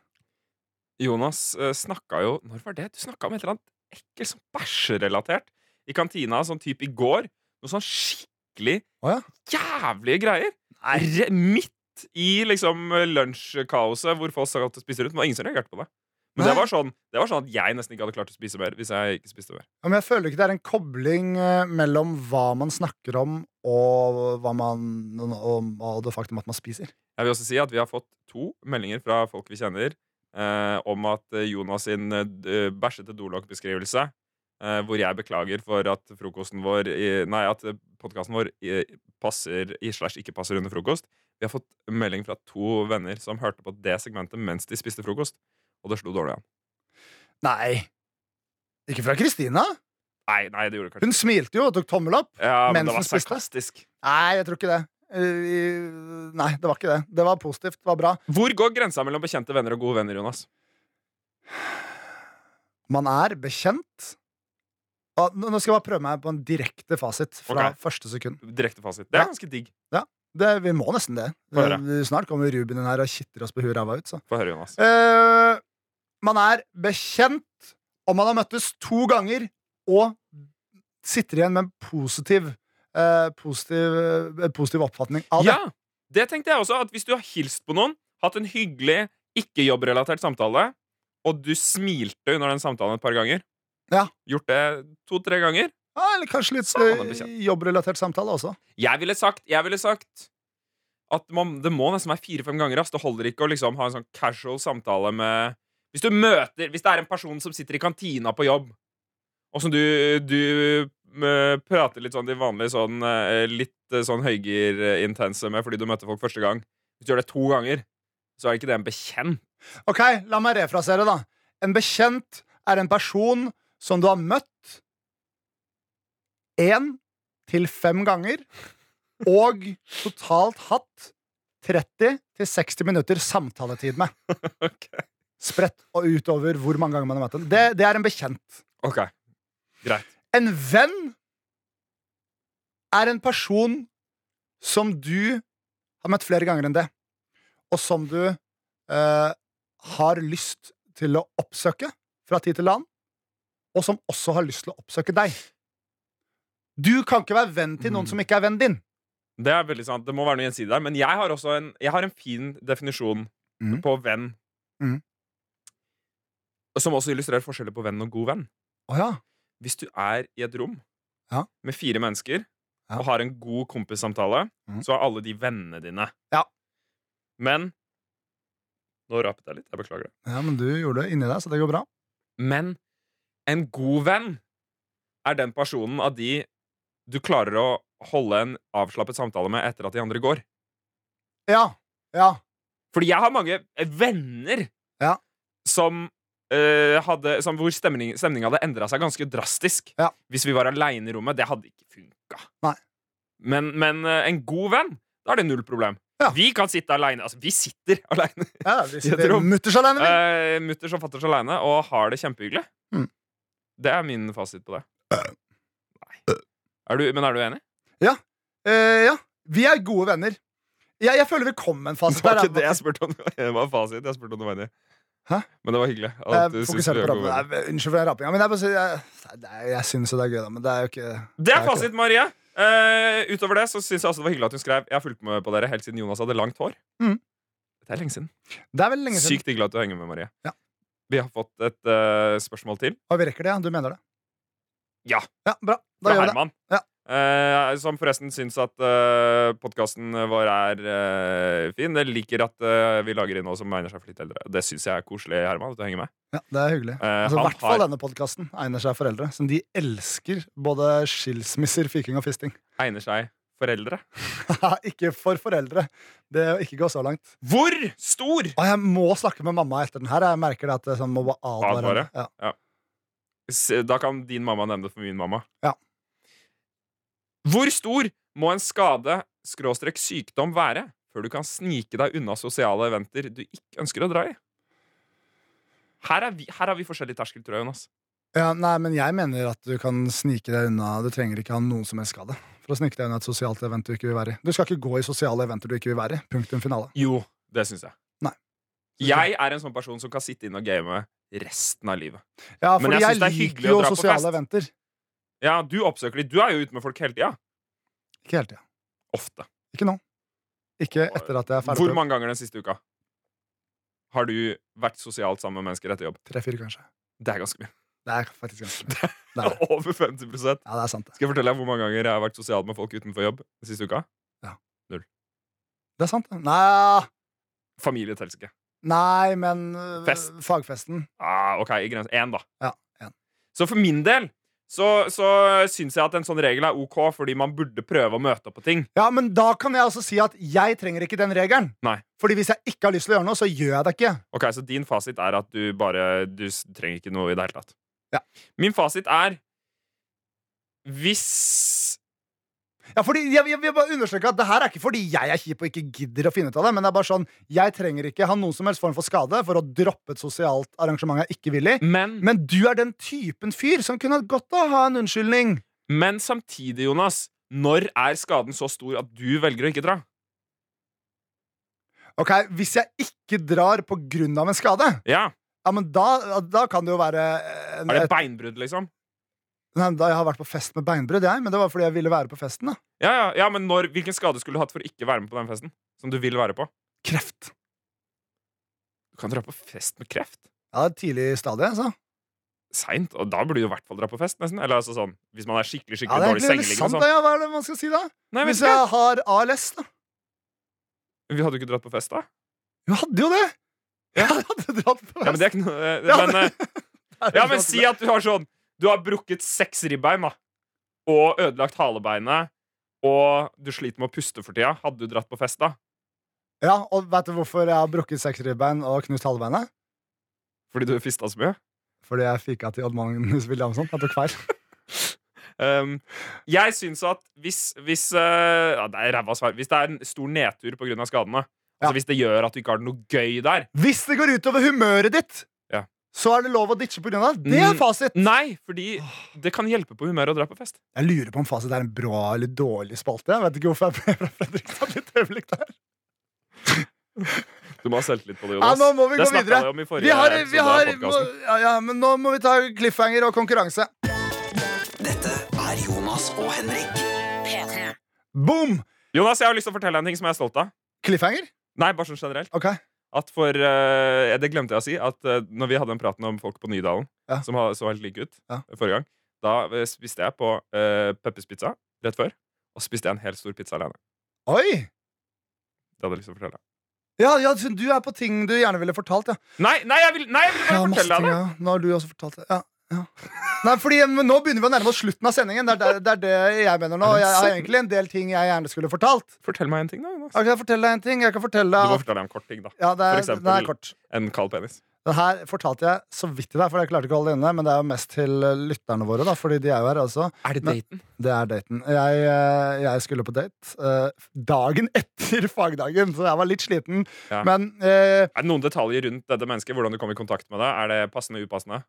Speaker 2: Jonas uh, snakka jo Når var det? Du snakka om et eller annet ekkelt sånn bæsjerelatert i kantina, sånn type i går. Noe sånn skikkelig
Speaker 3: Å
Speaker 2: jævlige greier. Re midt i liksom lunsjkaoset hvor folk satt og spiste rundt. Men det var ingen som reagerte på det. Men det
Speaker 3: Nei.
Speaker 2: var, sånn, det var sånn at jeg nesten ikke hadde klart å spise mer hvis jeg ikke spiste mer.
Speaker 3: Ja, men jeg føler ikke det er en kobling eh, mellom hva man snakker om, og, hva man, og, og det faktum at man spiser.
Speaker 2: Jeg vil også si at vi har fått to meldinger fra folk vi kjenner eh, om at eh, Jonas sin eh, d- bæsjete dolokk-beskrivelse, eh, hvor jeg beklager for at frokosten vår i, Nei, at podkasten vår i, passer i slash ikke passer under frokost. Vi har fått melding fra to venner som hørte på det segmentet mens de spiste frokost, og det slo dårlig an.
Speaker 3: Nei. Ikke fra Kristina.
Speaker 2: Nei, nei, det gjorde det kanskje
Speaker 3: Hun smilte jo og tok tommel opp.
Speaker 2: Ja, men
Speaker 3: mens
Speaker 2: det var
Speaker 3: hun spiste?
Speaker 2: sarkastisk.
Speaker 3: Nei, jeg tror ikke det. Eh, Nei, det var ikke det. Det var positivt. Det var bra.
Speaker 2: Hvor går grensa mellom bekjente venner og gode venner, Jonas?
Speaker 3: Man er bekjent. Ah, Nå nå skal jeg bare prøve meg på en direkte fasit fra
Speaker 2: Ok.
Speaker 3: første sekund.
Speaker 2: Direkte fasit. Det er
Speaker 3: Ja.
Speaker 2: ganske digg.
Speaker 3: Det, vi må nesten det.
Speaker 2: Få høre.
Speaker 3: Eh, Snart kommer Ruben inn her og kitter oss på huet og ræva ut. Så.
Speaker 2: Få høre, Jonas.
Speaker 3: Eh, man er bekjent om man har møttes to ganger og sitter igjen med en positiv, eh, positiv, eh, positiv oppfatning av det.
Speaker 2: Ja, det tenkte jeg også. At hvis du har hilst på noen, hatt en hyggelig ikke-jobbrelatert samtale, og du smilte under den samtalen et par ganger
Speaker 3: Ja.
Speaker 2: Gjort det to-tre ganger
Speaker 3: Ja, Ah, eller kanskje litt
Speaker 2: Så er man
Speaker 3: eh,
Speaker 2: bekjent.
Speaker 3: jobbrelatert samtale også.
Speaker 2: Jeg ville sagt, jeg ville sagt at man, det må nesten være fire-fem ganger. Ass. Det holder ikke å liksom ha en sånn casual samtale med Hvis du møter Hvis det er en person som sitter i kantina på jobb, og som du, du eh, prater litt sånn de vanlige sånn eh, litt eh, sånn høygirintense med fordi du møter folk første gang Hvis du gjør det to ganger, så er ikke det en bekjent.
Speaker 3: Ok, la meg refrasere da En bekjent er en person som du har møtt En til fem ganger Og totalt hatt 30 til 60 minutter samtaletid med spredt og utover hvor mange ganger man har møtt den. Det, det er en bekjent.
Speaker 2: Ok, greit.
Speaker 3: En venn er en person som du har møtt flere ganger enn det, og som du eh, har lyst til å oppsøke fra tid til annen, og som også har lyst til å oppsøke deg. Du kan ikke være venn til noen som ikke er vennen din.
Speaker 2: Det er veldig sant. Det må være noe gjensidig der. Men jeg har også en, jeg har en fin definisjon
Speaker 3: Mhm.
Speaker 2: på venn.
Speaker 3: Mhm.
Speaker 2: Som også illustrerer forskjeller på venn og god venn.
Speaker 3: Å ja.
Speaker 2: Hvis du er i et rom
Speaker 3: Ja.
Speaker 2: med fire mennesker
Speaker 3: Ja.
Speaker 2: og har en god kompissamtale,
Speaker 3: Mhm.
Speaker 2: så er alle de vennene dine.
Speaker 3: Ja.
Speaker 2: Men Nå rapet jeg litt. Jeg beklager det.
Speaker 3: ja, men du gjorde det inni deg, så det går bra.
Speaker 2: Men en god venn er den personen av de du klarer å holde en avslappet samtale med etter at de andre går.
Speaker 3: Ja. Ja.
Speaker 2: Fordi jeg har mange venner
Speaker 3: Ja.
Speaker 2: som, eh, hadde, som Hvor stemning, stemninga hadde endra seg ganske drastisk.
Speaker 3: Ja.
Speaker 2: Hvis vi var aleine i rommet. Det hadde ikke funka.
Speaker 3: Nei.
Speaker 2: Men, men eh, en god venn, da er det null problem.
Speaker 3: Ja.
Speaker 2: Vi kan sitte aleine. Altså, vi sitter aleine.
Speaker 3: ja vi
Speaker 2: Jeg
Speaker 3: sitter
Speaker 2: tror-
Speaker 3: mutters alene, vi.
Speaker 2: Uh, Mutters og fatters aleine og har det kjempehyggelig.
Speaker 3: Mm.
Speaker 2: Det er min fasit på det. Nei. Er du, men er du enig?
Speaker 3: Eh, ja. Vi er gode venner. Jeg, jeg føler vi kom med en fasit
Speaker 2: Det var
Speaker 3: der.
Speaker 2: ikke det jeg spurte om. Det var fasit. Jeg spurte om du var enig.
Speaker 3: Hæ?
Speaker 2: Men det var hyggelig. at du
Speaker 3: Jeg
Speaker 2: synes
Speaker 3: fokuserte
Speaker 2: vi er
Speaker 3: Eh, på
Speaker 2: gode
Speaker 3: rappinga.
Speaker 2: venner.
Speaker 3: Nei, Unnskyld for den rappinga. Men jeg, bare sier- jeg, det er- jeg syns jo det er gøy, da. Men det er jo ikke
Speaker 2: Det er
Speaker 3: ikke det.
Speaker 2: fasit, Marie. Eh, utover det så syns jeg også det var hyggelig at hun skrev Jeg har fulgt med på dere helt siden Jonas hadde langt hår.
Speaker 3: Mhm.
Speaker 2: Det er lenge siden.
Speaker 3: Det er vel lenge siden.
Speaker 2: Sykt hyggelig at du henger med, Marie.
Speaker 3: Ja.
Speaker 2: Vi har fått et eh, spørsmål til
Speaker 3: Og vi rekker det, ja? Du mener det?
Speaker 2: Ja.
Speaker 3: Ja, Bra. Da
Speaker 2: fra
Speaker 3: gjør vi det.
Speaker 2: Herman.
Speaker 3: Ja.
Speaker 2: Eh, som forresten syns at uh, podkasten vår er eh, fin. Jeg liker at eh, vi lager innhold som egner seg for litt eldre. Det syns jeg er koselig, Herman. at du henger med
Speaker 3: Ja, det er hyggelig.
Speaker 2: Eh,
Speaker 3: Altså, I
Speaker 2: han
Speaker 3: hvert fall
Speaker 2: har-
Speaker 3: denne podkasten egner seg for eldre, som de elsker både skilsmisser, fiking og fisting.
Speaker 2: Egner seg foreldre.
Speaker 3: ikke for foreldre. Det å ikke gå så langt.
Speaker 2: Hvor stor
Speaker 3: Og jeg må snakke med mamma etter den her. Jeg merker det at jeg sånn, må bare advare.
Speaker 2: Advare?
Speaker 3: henne. Ja.
Speaker 2: S- Da kan din mamma nevne det for min mamma.
Speaker 3: Ja.
Speaker 2: Hvor stor må en skade skråstrek sykdom være før du kan snike deg unna sosiale eventer du ikke ønsker å dra i? Her, er vi, her har vi forskjellig terskel, tror jeg, Jonas.
Speaker 3: Ja, nei, men jeg mener at du kan snike deg unna. Du trenger ikke ha noen som helst skade. For å snike deg unna et sosialt event du ikke vil være i. Du skal ikke gå i sosiale eventer du ikke vil være i. Punktum finale.
Speaker 2: Jo, det syns jeg.
Speaker 3: Nei.
Speaker 2: Jeg er en sånn person som kan sitte inne og game resten av livet.
Speaker 3: Ja,
Speaker 2: Men jeg
Speaker 3: fordi jeg,
Speaker 2: synes det er hyggelig
Speaker 3: liker
Speaker 2: å
Speaker 3: jo
Speaker 2: dra på
Speaker 3: sosiale
Speaker 2: fest.
Speaker 3: eventer.
Speaker 2: Ja, Du oppsøker de. Du er jo ute med folk hele tida.
Speaker 3: Ikke hele tida.
Speaker 2: Ofte.
Speaker 3: Ikke nå. Ikke etter at jeg er ferdig
Speaker 2: Hvor
Speaker 3: på
Speaker 2: mange ganger den siste uka har du vært sosialt sammen med mennesker etter jobb?
Speaker 3: tre-fire, kanskje.
Speaker 2: Det er ganske mye.
Speaker 3: Det er faktisk ganske mye. Det er det.
Speaker 2: Over 50
Speaker 3: Ja, det er sant, det.
Speaker 2: Skal jeg fortelle deg hvor mange ganger jeg har vært sosial med folk utenfor jobb den siste uka?
Speaker 3: Det er sant, det. Nei,
Speaker 2: Familie teller ikke.
Speaker 3: nei men øh,
Speaker 2: Fest.
Speaker 3: fagfesten
Speaker 2: Ah, ok, i grensen. Én, da.
Speaker 3: Ja, en.
Speaker 2: Så for min del så, så syns jeg at en sånn regel er ok, fordi man burde prøve å møte opp på ting.
Speaker 3: Ja, men da kan jeg også si at jeg trenger ikke den regelen.
Speaker 2: Nei.
Speaker 3: Fordi hvis jeg ikke har lyst til å gjøre noe, så gjør jeg det ikke.
Speaker 2: Ok, Så din fasit er at du bare Du s- trenger ikke noe i det hele tatt.
Speaker 3: Ja.
Speaker 2: Min fasit er Hvis
Speaker 3: Ja, fordi jeg, jeg vil bare understreke at Det her er ikke fordi jeg er kjip og ikke gidder å finne ut av det, men det er bare sånn, jeg trenger ikke ha noen som helst form for skade for å droppe et sosialt arrangement jeg ikke vil i.
Speaker 2: Men
Speaker 3: Men du er den typen fyr som kunne hatt godt av å ha en unnskyldning.
Speaker 2: Men samtidig, Jonas, når er skaden så stor at du velger å ikke dra?
Speaker 3: Ok, Hvis jeg ikke drar på grunn av en skade,
Speaker 2: Ja,
Speaker 3: ja, men da, da kan det jo være eh, en,
Speaker 2: Er det beinbrudd, liksom?
Speaker 3: Nei, da Jeg har vært på fest med beinbrudd, jeg, men det var fordi jeg ville være på festen. da
Speaker 2: Ja, ja, ja, men når, Hvilken skade skulle du hatt for å ikke være med på den festen? Som du vil være på?
Speaker 3: Kreft.
Speaker 2: Du kan dra på fest med kreft.
Speaker 3: Ja, det er et tidlig stadie, altså. så.
Speaker 2: Seint. Og da burde du i hvert fall dra på fest, nesten. Eller altså sånn, Hvis man er skikkelig
Speaker 3: Ja,
Speaker 2: skikkelig
Speaker 3: det er
Speaker 2: dårlig
Speaker 3: egentlig veldig
Speaker 2: sengeliggende. og
Speaker 3: sant,
Speaker 2: Sånn.
Speaker 3: da. Ja, hva er det man skal si da?
Speaker 2: Nei, men
Speaker 3: Hvis jeg har ALS, da.
Speaker 2: Vi hadde jo ikke dratt på fest da.
Speaker 3: Jo, jeg hadde jo det!
Speaker 2: Ja.
Speaker 3: Jeg hadde dratt på
Speaker 2: Ja, men det er ikke noe eh,
Speaker 3: Ja,
Speaker 2: men, eh,
Speaker 3: fest.
Speaker 2: ja, men si at du har sånn Du har brukket seks ribbein, da. Og ødelagt halebeinet. Og du sliter med å puste for tida. Hadde du dratt på fest da?
Speaker 3: Ja, og vet du hvorfor jeg har brukket seks ribbein og knust halebeinet?
Speaker 2: Fordi du fista så mye?
Speaker 3: Fordi jeg fika til Odd Magnus Williamson. Jeg tok feil.
Speaker 2: Um, jeg syns at hvis, hvis eh, ja, det er ræva svar. Hvis det er en stor nedtur pga. skadene,
Speaker 3: Ja.
Speaker 2: Altså Hvis det gjør at du ikke har det noe gøy der.
Speaker 3: Hvis det går utover humøret ditt,
Speaker 2: Ja.
Speaker 3: så er det lov å ditche pga. det. Det er
Speaker 2: Mm.
Speaker 3: fasit.
Speaker 2: Nei, fordi det kan hjelpe på humøret å dra på fest.
Speaker 3: Jeg lurer på om fasit er en bra eller dårlig spalte. Jeg vet ikke hvorfor jeg ble fra Fredrikstad litt øyeblikk der.
Speaker 2: Du må ha selvtillit på det,
Speaker 3: Ja,
Speaker 2: Jonas.
Speaker 3: nå må vi
Speaker 2: det
Speaker 3: gå
Speaker 2: snakket
Speaker 3: videre.
Speaker 2: vi om i forrige
Speaker 3: Vi har, vi
Speaker 2: episode av
Speaker 3: har, må,
Speaker 2: podcasten.
Speaker 3: ja, ja, men nå må vi ta cliffhanger og konkurranse.
Speaker 1: Dette er Jonas og Henrik.
Speaker 6: P3.
Speaker 3: Boom!
Speaker 2: Jonas, jeg har lyst til å fortelle deg en ting som jeg er stolt av.
Speaker 3: Cliffhanger?
Speaker 2: Nei, bare sånn generelt.
Speaker 3: Ok.
Speaker 2: At for, eh, Det glemte jeg å si. At eh, når vi hadde den praten om folk på Nydalen
Speaker 3: Ja.
Speaker 2: som ha- så helt like ut
Speaker 3: Ja.
Speaker 2: forrige gang, da eh, spiste jeg på uh, Peppers Pizza rett før. Og så spiste jeg en helt stor pizza alene.
Speaker 3: Oi!
Speaker 2: Det hadde jeg lyst til å fortelle deg.
Speaker 3: Ja, ja, så du er på ting du gjerne ville fortalt, ja.
Speaker 2: Nei, nei, jeg vil, nei, jeg vil bare
Speaker 3: ja masse
Speaker 2: fortelle
Speaker 3: ting,
Speaker 2: deg det!
Speaker 3: ja. Nå har du også fortalt det. Ja. Ja. Nei, fordi eh, men Nå begynner vi å nærme oss slutten av sendingen. Det er, det, det er det jeg mener nå.
Speaker 2: Er det
Speaker 3: Jeg har
Speaker 2: sant?
Speaker 3: egentlig en del ting jeg gjerne skulle fortalt.
Speaker 2: Fortell meg en ting, da. Jonas.
Speaker 3: Jeg kan fortelle deg en ting. Jeg kan fortelle
Speaker 2: Du må
Speaker 3: deg at
Speaker 2: fortelle deg en kort ting, da.
Speaker 3: ja,
Speaker 2: for
Speaker 3: det er,
Speaker 2: eksempel-
Speaker 3: den er kort.
Speaker 2: En kald penis.
Speaker 3: Den her fortalte jeg så vidt til deg, for jeg klarte ikke å holde det inne. Men det er jo mest til eh, lytterne våre, da, fordi de er jo her, altså.
Speaker 2: Er det
Speaker 3: Men-
Speaker 2: daten?
Speaker 3: Det er daten. Jeg, eh, jeg skulle på date eh, dagen etter fagdagen, så jeg var litt sliten.
Speaker 2: Ja.
Speaker 3: Men eh,
Speaker 2: Er det noen detaljer rundt dette mennesket? Hvordan du kom i kontakt med det? Er det passende upassende?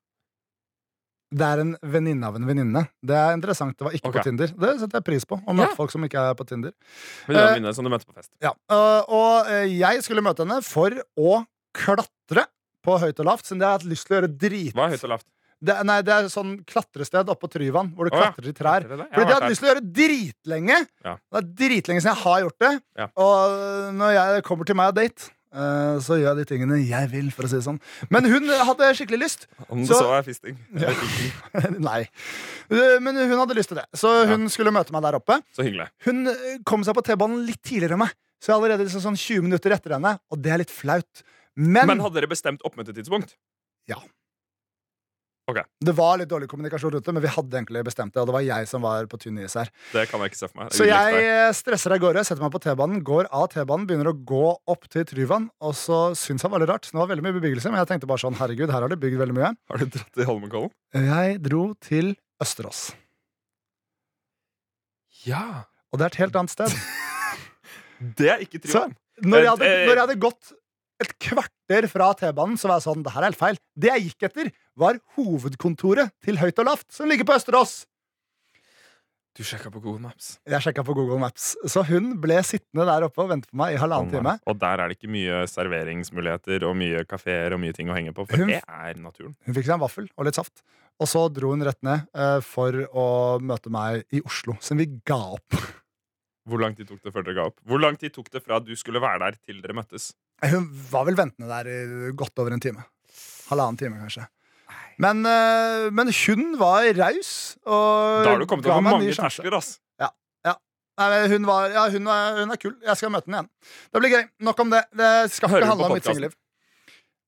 Speaker 3: det er en venninne av en venninne. Det er interessant. Det var ikke
Speaker 2: Ok.
Speaker 3: på Tinder. Det setter jeg pris på. Å møte
Speaker 2: Ja.
Speaker 3: folk som ikke er på Tinder.
Speaker 2: Men det var
Speaker 3: Eh,
Speaker 2: en venninne som du møtte på fest.
Speaker 3: Ja. eh, og eh, jeg skulle møte henne for å klatre på høyt og lavt, siden jeg har hatt lyst til å gjøre drit.
Speaker 2: Hva er høyt og lavt?
Speaker 3: Det, nei, det er sånn klatrested oppe på Tryvann,
Speaker 2: Å,
Speaker 3: hvor du
Speaker 2: ja.
Speaker 3: klatrer i trær.
Speaker 2: Hørte dere det? Jeg
Speaker 3: Fordi det
Speaker 2: har
Speaker 3: hadde jeg
Speaker 2: vært
Speaker 3: lyst til å gjøre dritlenge.
Speaker 2: Ja.
Speaker 3: Det er dritlenge siden jeg har gjort det.
Speaker 2: Ja.
Speaker 3: Og eh, når jeg kommer til meg og date, eh, så gjør jeg de tingene jeg vil, for å si det sånn. Men hun hadde skikkelig lyst.
Speaker 2: der. Om du
Speaker 3: så-
Speaker 2: så er fisting.
Speaker 3: Ja. Nei. Eh, Men hun hadde lyst til det, så hun skulle møte meg der oppe.
Speaker 2: Så hyggelig.
Speaker 3: Hun eh, kom seg på T-banen litt tidligere enn meg, så jeg er allerede liksom sånn 20 minutter etter henne, og det er litt flaut. Men,
Speaker 2: Men hadde dere bestemt oppmøtetidspunkt?
Speaker 3: det var litt dårlig kommunikasjon rundt det, men vi hadde egentlig bestemt det, og det var jeg som var på tynn is her.
Speaker 2: Det kan jeg ikke se for meg.
Speaker 3: Så
Speaker 2: Det er ulikt
Speaker 3: jeg
Speaker 2: deg.
Speaker 3: eh, stresser av gårde, setter meg på T-banen, går av T-banen, begynner å gå opp til Tryvann, og så syns han var litt rart. Det var veldig mye bebyggelse, men jeg tenkte bare sånn, herregud, her har de bygd veldig mye.
Speaker 2: Har du dratt til Holmenkollen?
Speaker 3: Jeg dro til Østerås,
Speaker 2: Ja.
Speaker 3: og det er et helt annet sted.
Speaker 2: Det er ikke
Speaker 3: Så,
Speaker 2: trivielt.
Speaker 3: når, jeg hadde,
Speaker 2: Eh, eh.
Speaker 3: når jeg hadde gått et kvarter fra T-banen, så var jeg sånn, det her er helt feil. Det jeg gikk etter, var hovedkontoret til Høyt og Lavt, som ligger på Østerås.
Speaker 2: Du sjekka på Google Maps.
Speaker 3: Jeg sjekka på Google Maps, så hun ble sittende der oppe og vente på meg i halvannen time.
Speaker 2: Og der er det ikke mye serveringsmuligheter og mye kafeer og mye ting å henge på. For
Speaker 3: Hun-
Speaker 2: det er naturen.
Speaker 3: Hun fikk seg en vaffel og litt saft. Og så dro hun rett ned eh, for å møte meg i Oslo, som vi ga opp.
Speaker 2: Hvor lang tid tok det før dere ga opp? Hvor lang tid tok det fra du skulle være der, til dere møttes?
Speaker 3: Eh, Hun var vel ventende der i godt over en time. Halvannen time, kanskje. Men, eh, men hun var raus og
Speaker 2: Da har du kommet
Speaker 3: Øh, ga
Speaker 2: over
Speaker 3: meg en ny
Speaker 2: mange
Speaker 3: sjanse.
Speaker 2: terskler, ass.
Speaker 3: Nei, men hun, var, ja, hun, er, hun er kul. Jeg skal møte henne igjen. Det blir gøy. Nok om det. Det skal
Speaker 2: Hører
Speaker 3: ikke
Speaker 2: hun
Speaker 3: handle
Speaker 2: på
Speaker 3: om mitt
Speaker 2: podcasten?
Speaker 3: singelliv.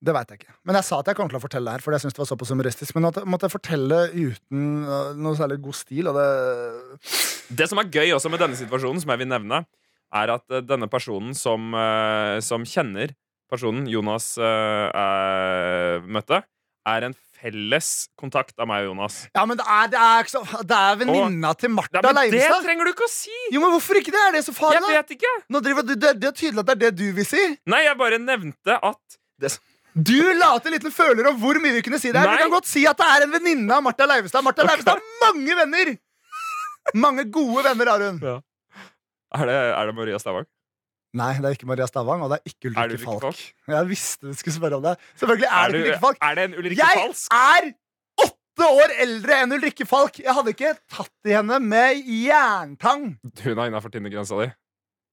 Speaker 3: Det veit jeg ikke. Men jeg sa at jeg kom til å fortelle det her. Fordi jeg synes det var såpass humoristisk Men at jeg måtte fortelle uten øh, noe særlig god stil. Og det
Speaker 2: Det som er gøy også med denne situasjonen, som jeg vil nevne, er at eh, denne personen som, eh, som kjenner personen Jonas eh, eh, møtte, er en felles kontakt av meg og Jonas.
Speaker 3: Ja, men det er, det er, ikke så- det er venninna til
Speaker 2: Nei,
Speaker 3: Martha
Speaker 2: men det
Speaker 3: Leivestad.
Speaker 2: trenger du ikke å si!
Speaker 3: Jo, men Hvorfor ikke det? Er det så farlig?
Speaker 2: Jeg
Speaker 3: da?
Speaker 2: vet ikke!
Speaker 3: Nå driver du, det, det er tydelig at det er det du vil si.
Speaker 2: Nei, jeg bare nevnte at det, som-
Speaker 3: Du la til liten føler om hvor mye vi kunne si det. her.
Speaker 2: Nei.
Speaker 3: Du kan godt si at det er en venninne av Martha Leivestad. Martha Leivestad har mange venner! Mange gode venner har hun.
Speaker 2: er, det, er det Maria Stavang?
Speaker 3: Nei, det er ikke Maria Stavang, og det er ikke
Speaker 2: Er det
Speaker 3: Ulrikke
Speaker 2: Ulrikke
Speaker 3: Falk.
Speaker 2: Falk?
Speaker 3: Jeg visste du skulle spørre om det. Selvfølgelig er det ikke Ulrikke Falk.
Speaker 2: Er det en Ulrikke
Speaker 3: Jeg
Speaker 2: Falsk?
Speaker 3: er åtte år eldre enn Ulrikke Falk! Jeg hadde ikke tatt i henne med jerntang.
Speaker 2: Hun er innafor Tinder-grensa di.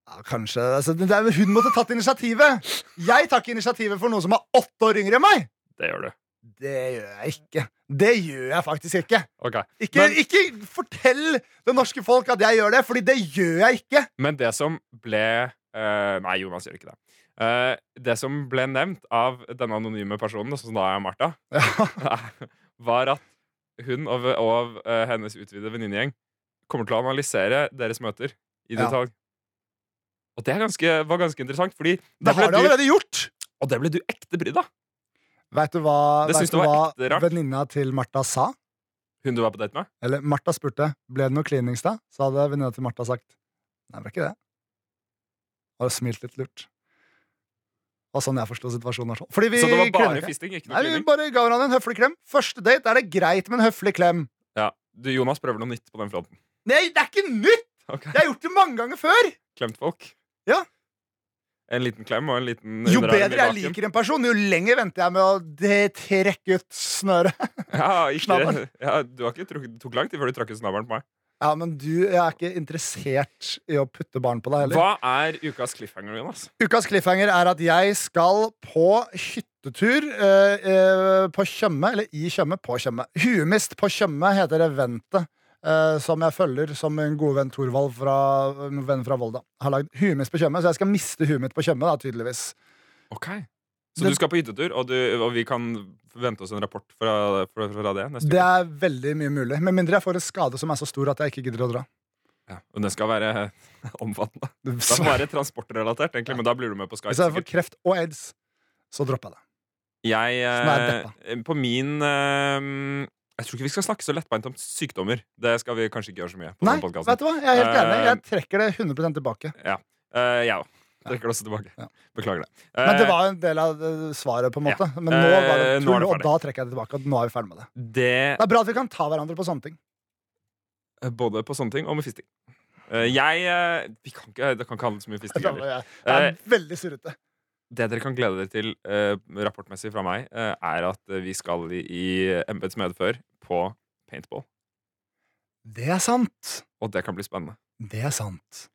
Speaker 3: Ja, kanskje. Altså, det er, hun måtte tatt initiativet. Jeg tar ikke initiativet for noen som er åtte år yngre enn meg.
Speaker 2: Det gjør du.
Speaker 3: Det gjør jeg ikke. Det gjør jeg faktisk ikke.
Speaker 2: Ok.
Speaker 3: Ikke,
Speaker 2: Men-
Speaker 3: ikke fortell det norske folk at jeg gjør det, Fordi det gjør jeg ikke.
Speaker 2: Men det som ble eh, Nei, Jonas gjør ikke det. Eh, det som ble nevnt av denne anonyme personen, som da er Martha, var at hun og, og eh, hennes utvidede venninnegjeng kommer til å analysere deres møter i
Speaker 3: Ja.
Speaker 2: detalj. Og det er ganske, var ganske interessant, fordi
Speaker 3: Det
Speaker 2: det ble
Speaker 3: har de
Speaker 2: du,
Speaker 3: allerede gjort.
Speaker 2: og det ble du ekte brydd av.
Speaker 3: Veit du hva,
Speaker 2: Det
Speaker 3: vet
Speaker 2: synes
Speaker 3: du
Speaker 2: det var ekte
Speaker 3: hva
Speaker 2: rart.
Speaker 3: venninna til Martha sa?
Speaker 2: Hun du var på date med.
Speaker 3: Eller Martha spurte Ble det noe klinnings da? Så hadde venninna til Martha sagt Nei, det var ikke det Og smilt litt lurt var sånn jeg forsto situasjonen. i hvert fall. Fordi vi
Speaker 2: Så det var
Speaker 3: klemmer
Speaker 2: bare
Speaker 3: ikke.
Speaker 2: fisting? ikke noe
Speaker 3: Nei, vi
Speaker 2: klining?
Speaker 3: bare ga hverandre en høflig klem. Første date er det greit med en høflig klem.
Speaker 2: Ja. Du, Jonas prøver noe nytt på den fronten.
Speaker 3: Nei, det er ikke nytt!
Speaker 2: Ok,
Speaker 3: Jeg har gjort det mange ganger før!
Speaker 2: Klemt folk?
Speaker 3: Ja.
Speaker 2: En liten klem og en liten
Speaker 3: Jo
Speaker 2: underarm i
Speaker 3: bedre jeg
Speaker 2: baken.
Speaker 3: liker en person, jo lenger venter jeg med å de- trekke ut snøret.
Speaker 2: Ja, ikke,
Speaker 3: Snabberen.
Speaker 2: ja, du har ikke trukket, det tok lang tid før du trakk ut snabelen på meg.
Speaker 3: Ja, men du, jeg er ikke interessert i å putte barn på deg heller.
Speaker 2: Hva er ukas cliffhanger, Jonas?
Speaker 3: Ukas cliffhanger er at jeg skal på hyttetur eh, eh, på Tjøme, eller i Tjøme, på Tjøme. Huemist på Tjøme heter eventet. eh, som jeg følger som en god venn Thorvald fra, en venn fra Volda. Har lagd huemist på Tjøme, så jeg skal miste huet mitt på Tjøme, da, tydeligvis.
Speaker 2: Ok Så
Speaker 3: Det-
Speaker 2: du skal på hyttetur, og, du, og vi kan vente oss en rapport fra, fra, fra det neste
Speaker 3: Det
Speaker 2: uke?
Speaker 3: er veldig mye mulig. Med mindre jeg får en skade som er så stor at jeg ikke gidder å dra.
Speaker 2: Ja. Og den skal være omfattende. Det
Speaker 3: Så
Speaker 2: skal være transportrelatert, egentlig, men da blir du med på Skype.
Speaker 3: hvis jeg får
Speaker 2: sikkert.
Speaker 3: kreft og aids, så dropper jeg det.
Speaker 2: Jeg,
Speaker 3: er
Speaker 2: eh, på min eh, Jeg tror ikke vi skal snakke så lettbeint om sykdommer. Det skal vi kanskje ikke gjøre så mye på
Speaker 3: Nei,
Speaker 2: denne podcasten.
Speaker 3: vet du hva? Jeg er helt enig.
Speaker 2: Eh,
Speaker 3: Jeg trekker det 100 tilbake.
Speaker 2: Eh, jeg òg. Trekker det også tilbake.
Speaker 3: Ja.
Speaker 2: Beklager det.
Speaker 3: Men det
Speaker 2: Eh,
Speaker 3: var en del av eh, svaret, på en måte. Men nå
Speaker 2: Eh,
Speaker 3: var det
Speaker 2: nå er
Speaker 3: tull,
Speaker 2: det
Speaker 3: og
Speaker 2: ferdig.
Speaker 3: da trekker jeg det tilbake. Og nå er vi ferdig med det.
Speaker 2: Eh, det
Speaker 3: Det er bra at vi kan ta hverandre på sånne ting.
Speaker 2: Eh, Både på sånne ting og med fisting. Eh, jeg eh, vi kan ikke, Det kan ikke handle så mye fisting
Speaker 3: Det
Speaker 2: heller.
Speaker 3: er- det er
Speaker 2: Eh,
Speaker 3: veldig surrete.
Speaker 2: Det dere kan glede dere til eh, rapportmessig fra meg, eh, er at eh, vi skal i, i embets medfør på paintball.
Speaker 3: Det er sant.
Speaker 2: Og det kan bli spennende.
Speaker 3: Det er sant.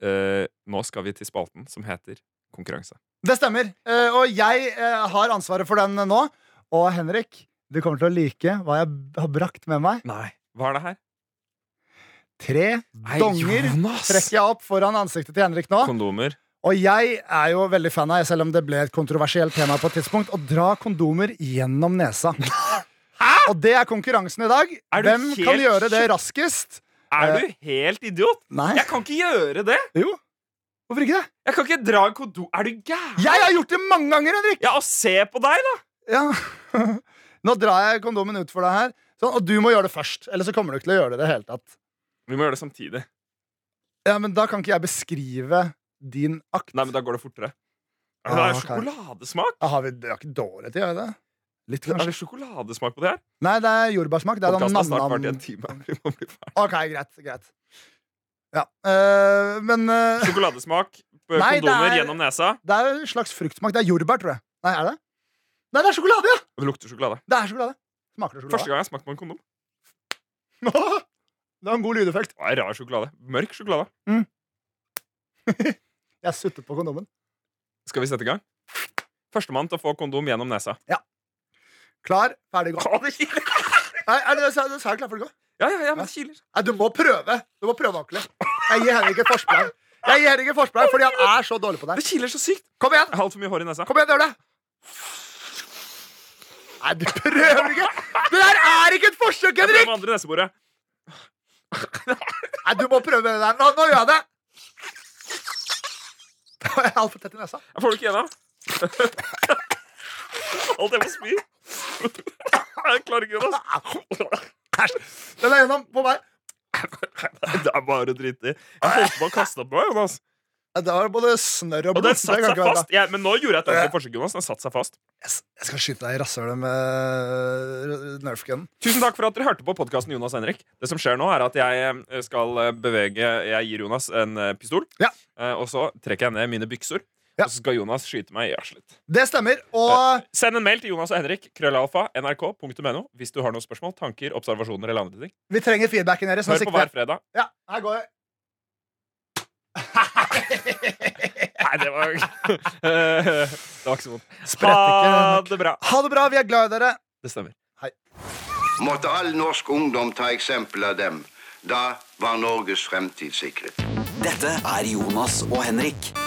Speaker 2: Eh, nå skal vi til spalten som heter konkurranse.
Speaker 3: Det stemmer. Eh, Og jeg eh, har ansvaret for den eh, nå. Og Henrik, du kommer til å like hva jeg b- har brakt med meg.
Speaker 2: Nei. Hva er det her?
Speaker 3: Tre donger
Speaker 2: Jonas!
Speaker 3: trekker jeg opp foran ansiktet til Henrik nå.
Speaker 2: Kondomer.
Speaker 3: Og jeg er jo veldig fan av, selv om det ble et kontroversielt tema på et tidspunkt, å dra kondomer gjennom nesa. Og det er konkurransen i dag.
Speaker 2: Er du
Speaker 3: Hvem kan
Speaker 2: helt
Speaker 3: gjøre det raskest?
Speaker 2: Er
Speaker 3: Eh,
Speaker 2: du helt idiot?
Speaker 3: Nei.
Speaker 2: Jeg kan ikke gjøre det!
Speaker 3: Jo. Hvorfor ikke det?
Speaker 2: Jeg kan ikke dra en kondom Er du gæren?
Speaker 3: Jeg har gjort det mange ganger, Henrik!
Speaker 2: Ja, og se på deg, da!
Speaker 3: Ja. Nå drar jeg kondomen ut for deg her, sånn, og du må gjøre det først. Eller så kommer du ikke til å gjøre det i det hele tatt.
Speaker 2: Vi må gjøre det samtidig.
Speaker 3: Ja, men da kan ikke jeg beskrive din akt.
Speaker 2: Nei, men da går det fortere. Er det,
Speaker 3: Ah,
Speaker 2: er
Speaker 3: ok.
Speaker 2: sjokoladesmak?
Speaker 3: Ja, har Ah, vi, det er ikke dårlig til å gjøre det. Litt,
Speaker 2: Er
Speaker 3: kanskje.
Speaker 2: det sjokoladesmak på det her?
Speaker 3: Nei, det er jordbærsmak. Det er
Speaker 2: Podkasten har
Speaker 3: sånn
Speaker 2: snart vært i
Speaker 3: nam-nam.
Speaker 2: en time. Vi må bli ferdig.
Speaker 3: Ok, greit. greit Ja, øh, men øh,
Speaker 2: Sjokoladesmak, b-
Speaker 3: Nei, det
Speaker 2: kondomer
Speaker 3: er-
Speaker 2: gjennom nesa.
Speaker 3: det er en slags fruktsmak. Det er jordbær, tror jeg. Nei, er det? Nei, det er sjokolade, ja!
Speaker 2: Og det lukter sjokolade.
Speaker 3: Det er sjokolade. Smaker det
Speaker 2: Første
Speaker 3: sjokolade?
Speaker 2: gang jeg smakte på en kondom.
Speaker 3: det var en god lydeffekt.
Speaker 2: Det var rar sjokolade. Mørk sjokolade.
Speaker 3: Jeg suttet på kondomen.
Speaker 2: Skal vi sette i gang? Førstemann til å få kondom gjennom nesa.
Speaker 3: Klar, ferdig, gå.
Speaker 2: Å, det kiler!
Speaker 3: Nei, er det, sa, sa jeg klar, ferdig, gå?
Speaker 2: Ja, ja, ja, men det kiler.
Speaker 3: Nei, du må prøve. Du må prøve ordentlig. Jeg gir Henrik et forsprang. Jeg gir Henrik et forsprang fordi han er så dårlig på det.
Speaker 2: Det kiler så sykt.
Speaker 3: Kom igjen!
Speaker 2: Jeg har altfor mye hår i nesa.
Speaker 3: Kom igjen, gjør det! Nei, du prøver ikke! Det der er ikke et forsøk,
Speaker 2: Jeg prøver
Speaker 3: Henrik!
Speaker 2: med andre neseboret.
Speaker 3: Nei, du må prøve det der. Nå, nå gjør jeg det! Jeg er altfor tett i nesa.
Speaker 2: Jeg får det ikke gjennom. Alt jeg må spy. Jeg klarer ikke det. altså.
Speaker 3: Æsj. Den er gjennom på meg.
Speaker 2: Det er bare dritt i. Jeg holdt på å kaste opp meg, Jonas.
Speaker 3: Ja, Det var både snørr og
Speaker 2: Og den
Speaker 3: blod.
Speaker 2: satt
Speaker 3: Det kan
Speaker 2: seg
Speaker 3: ikke være bra.
Speaker 2: fast. Jeg- men nå gjorde jeg et ordentlig forsøk, Jonas. Den satt seg fast.
Speaker 3: Yes, Jeg skal skyte deg i rasshølet eh, med nerfgunnen.
Speaker 2: Tusen takk for at dere hørte på podkasten Jonas og Henrik. Det som skjer nå, er at jeg eh, skal eh, bevege Jeg gir Jonas en eh, pistol,
Speaker 3: Ja.
Speaker 2: Eh, og så trekker jeg ned mine bykser.
Speaker 3: Ja.
Speaker 2: Og så skal Jonas skyte meg i arslet.
Speaker 3: Det stemmer. Og
Speaker 2: Send en mail til Jonas og Henrik, krøllalfa, nrk.no, hvis du har noen spørsmål, tanker, observasjoner eller andre ting.
Speaker 3: vi trenger feedbacken deres. Nå
Speaker 2: Hør på
Speaker 3: sikter
Speaker 2: hver
Speaker 3: jeg.
Speaker 2: fredag.
Speaker 3: Ja, her går jeg.
Speaker 2: Nei, det var Eh, Det var ikke så vondt. Ha
Speaker 3: Sprett ikke.
Speaker 2: det bra.
Speaker 3: Ha det bra. Vi er glad i dere.
Speaker 2: Det stemmer.
Speaker 6: Måtte all norsk ungdom ta eksempel av dem. Da var Norges fremtid sikret.
Speaker 1: Dette er Jonas og Henrik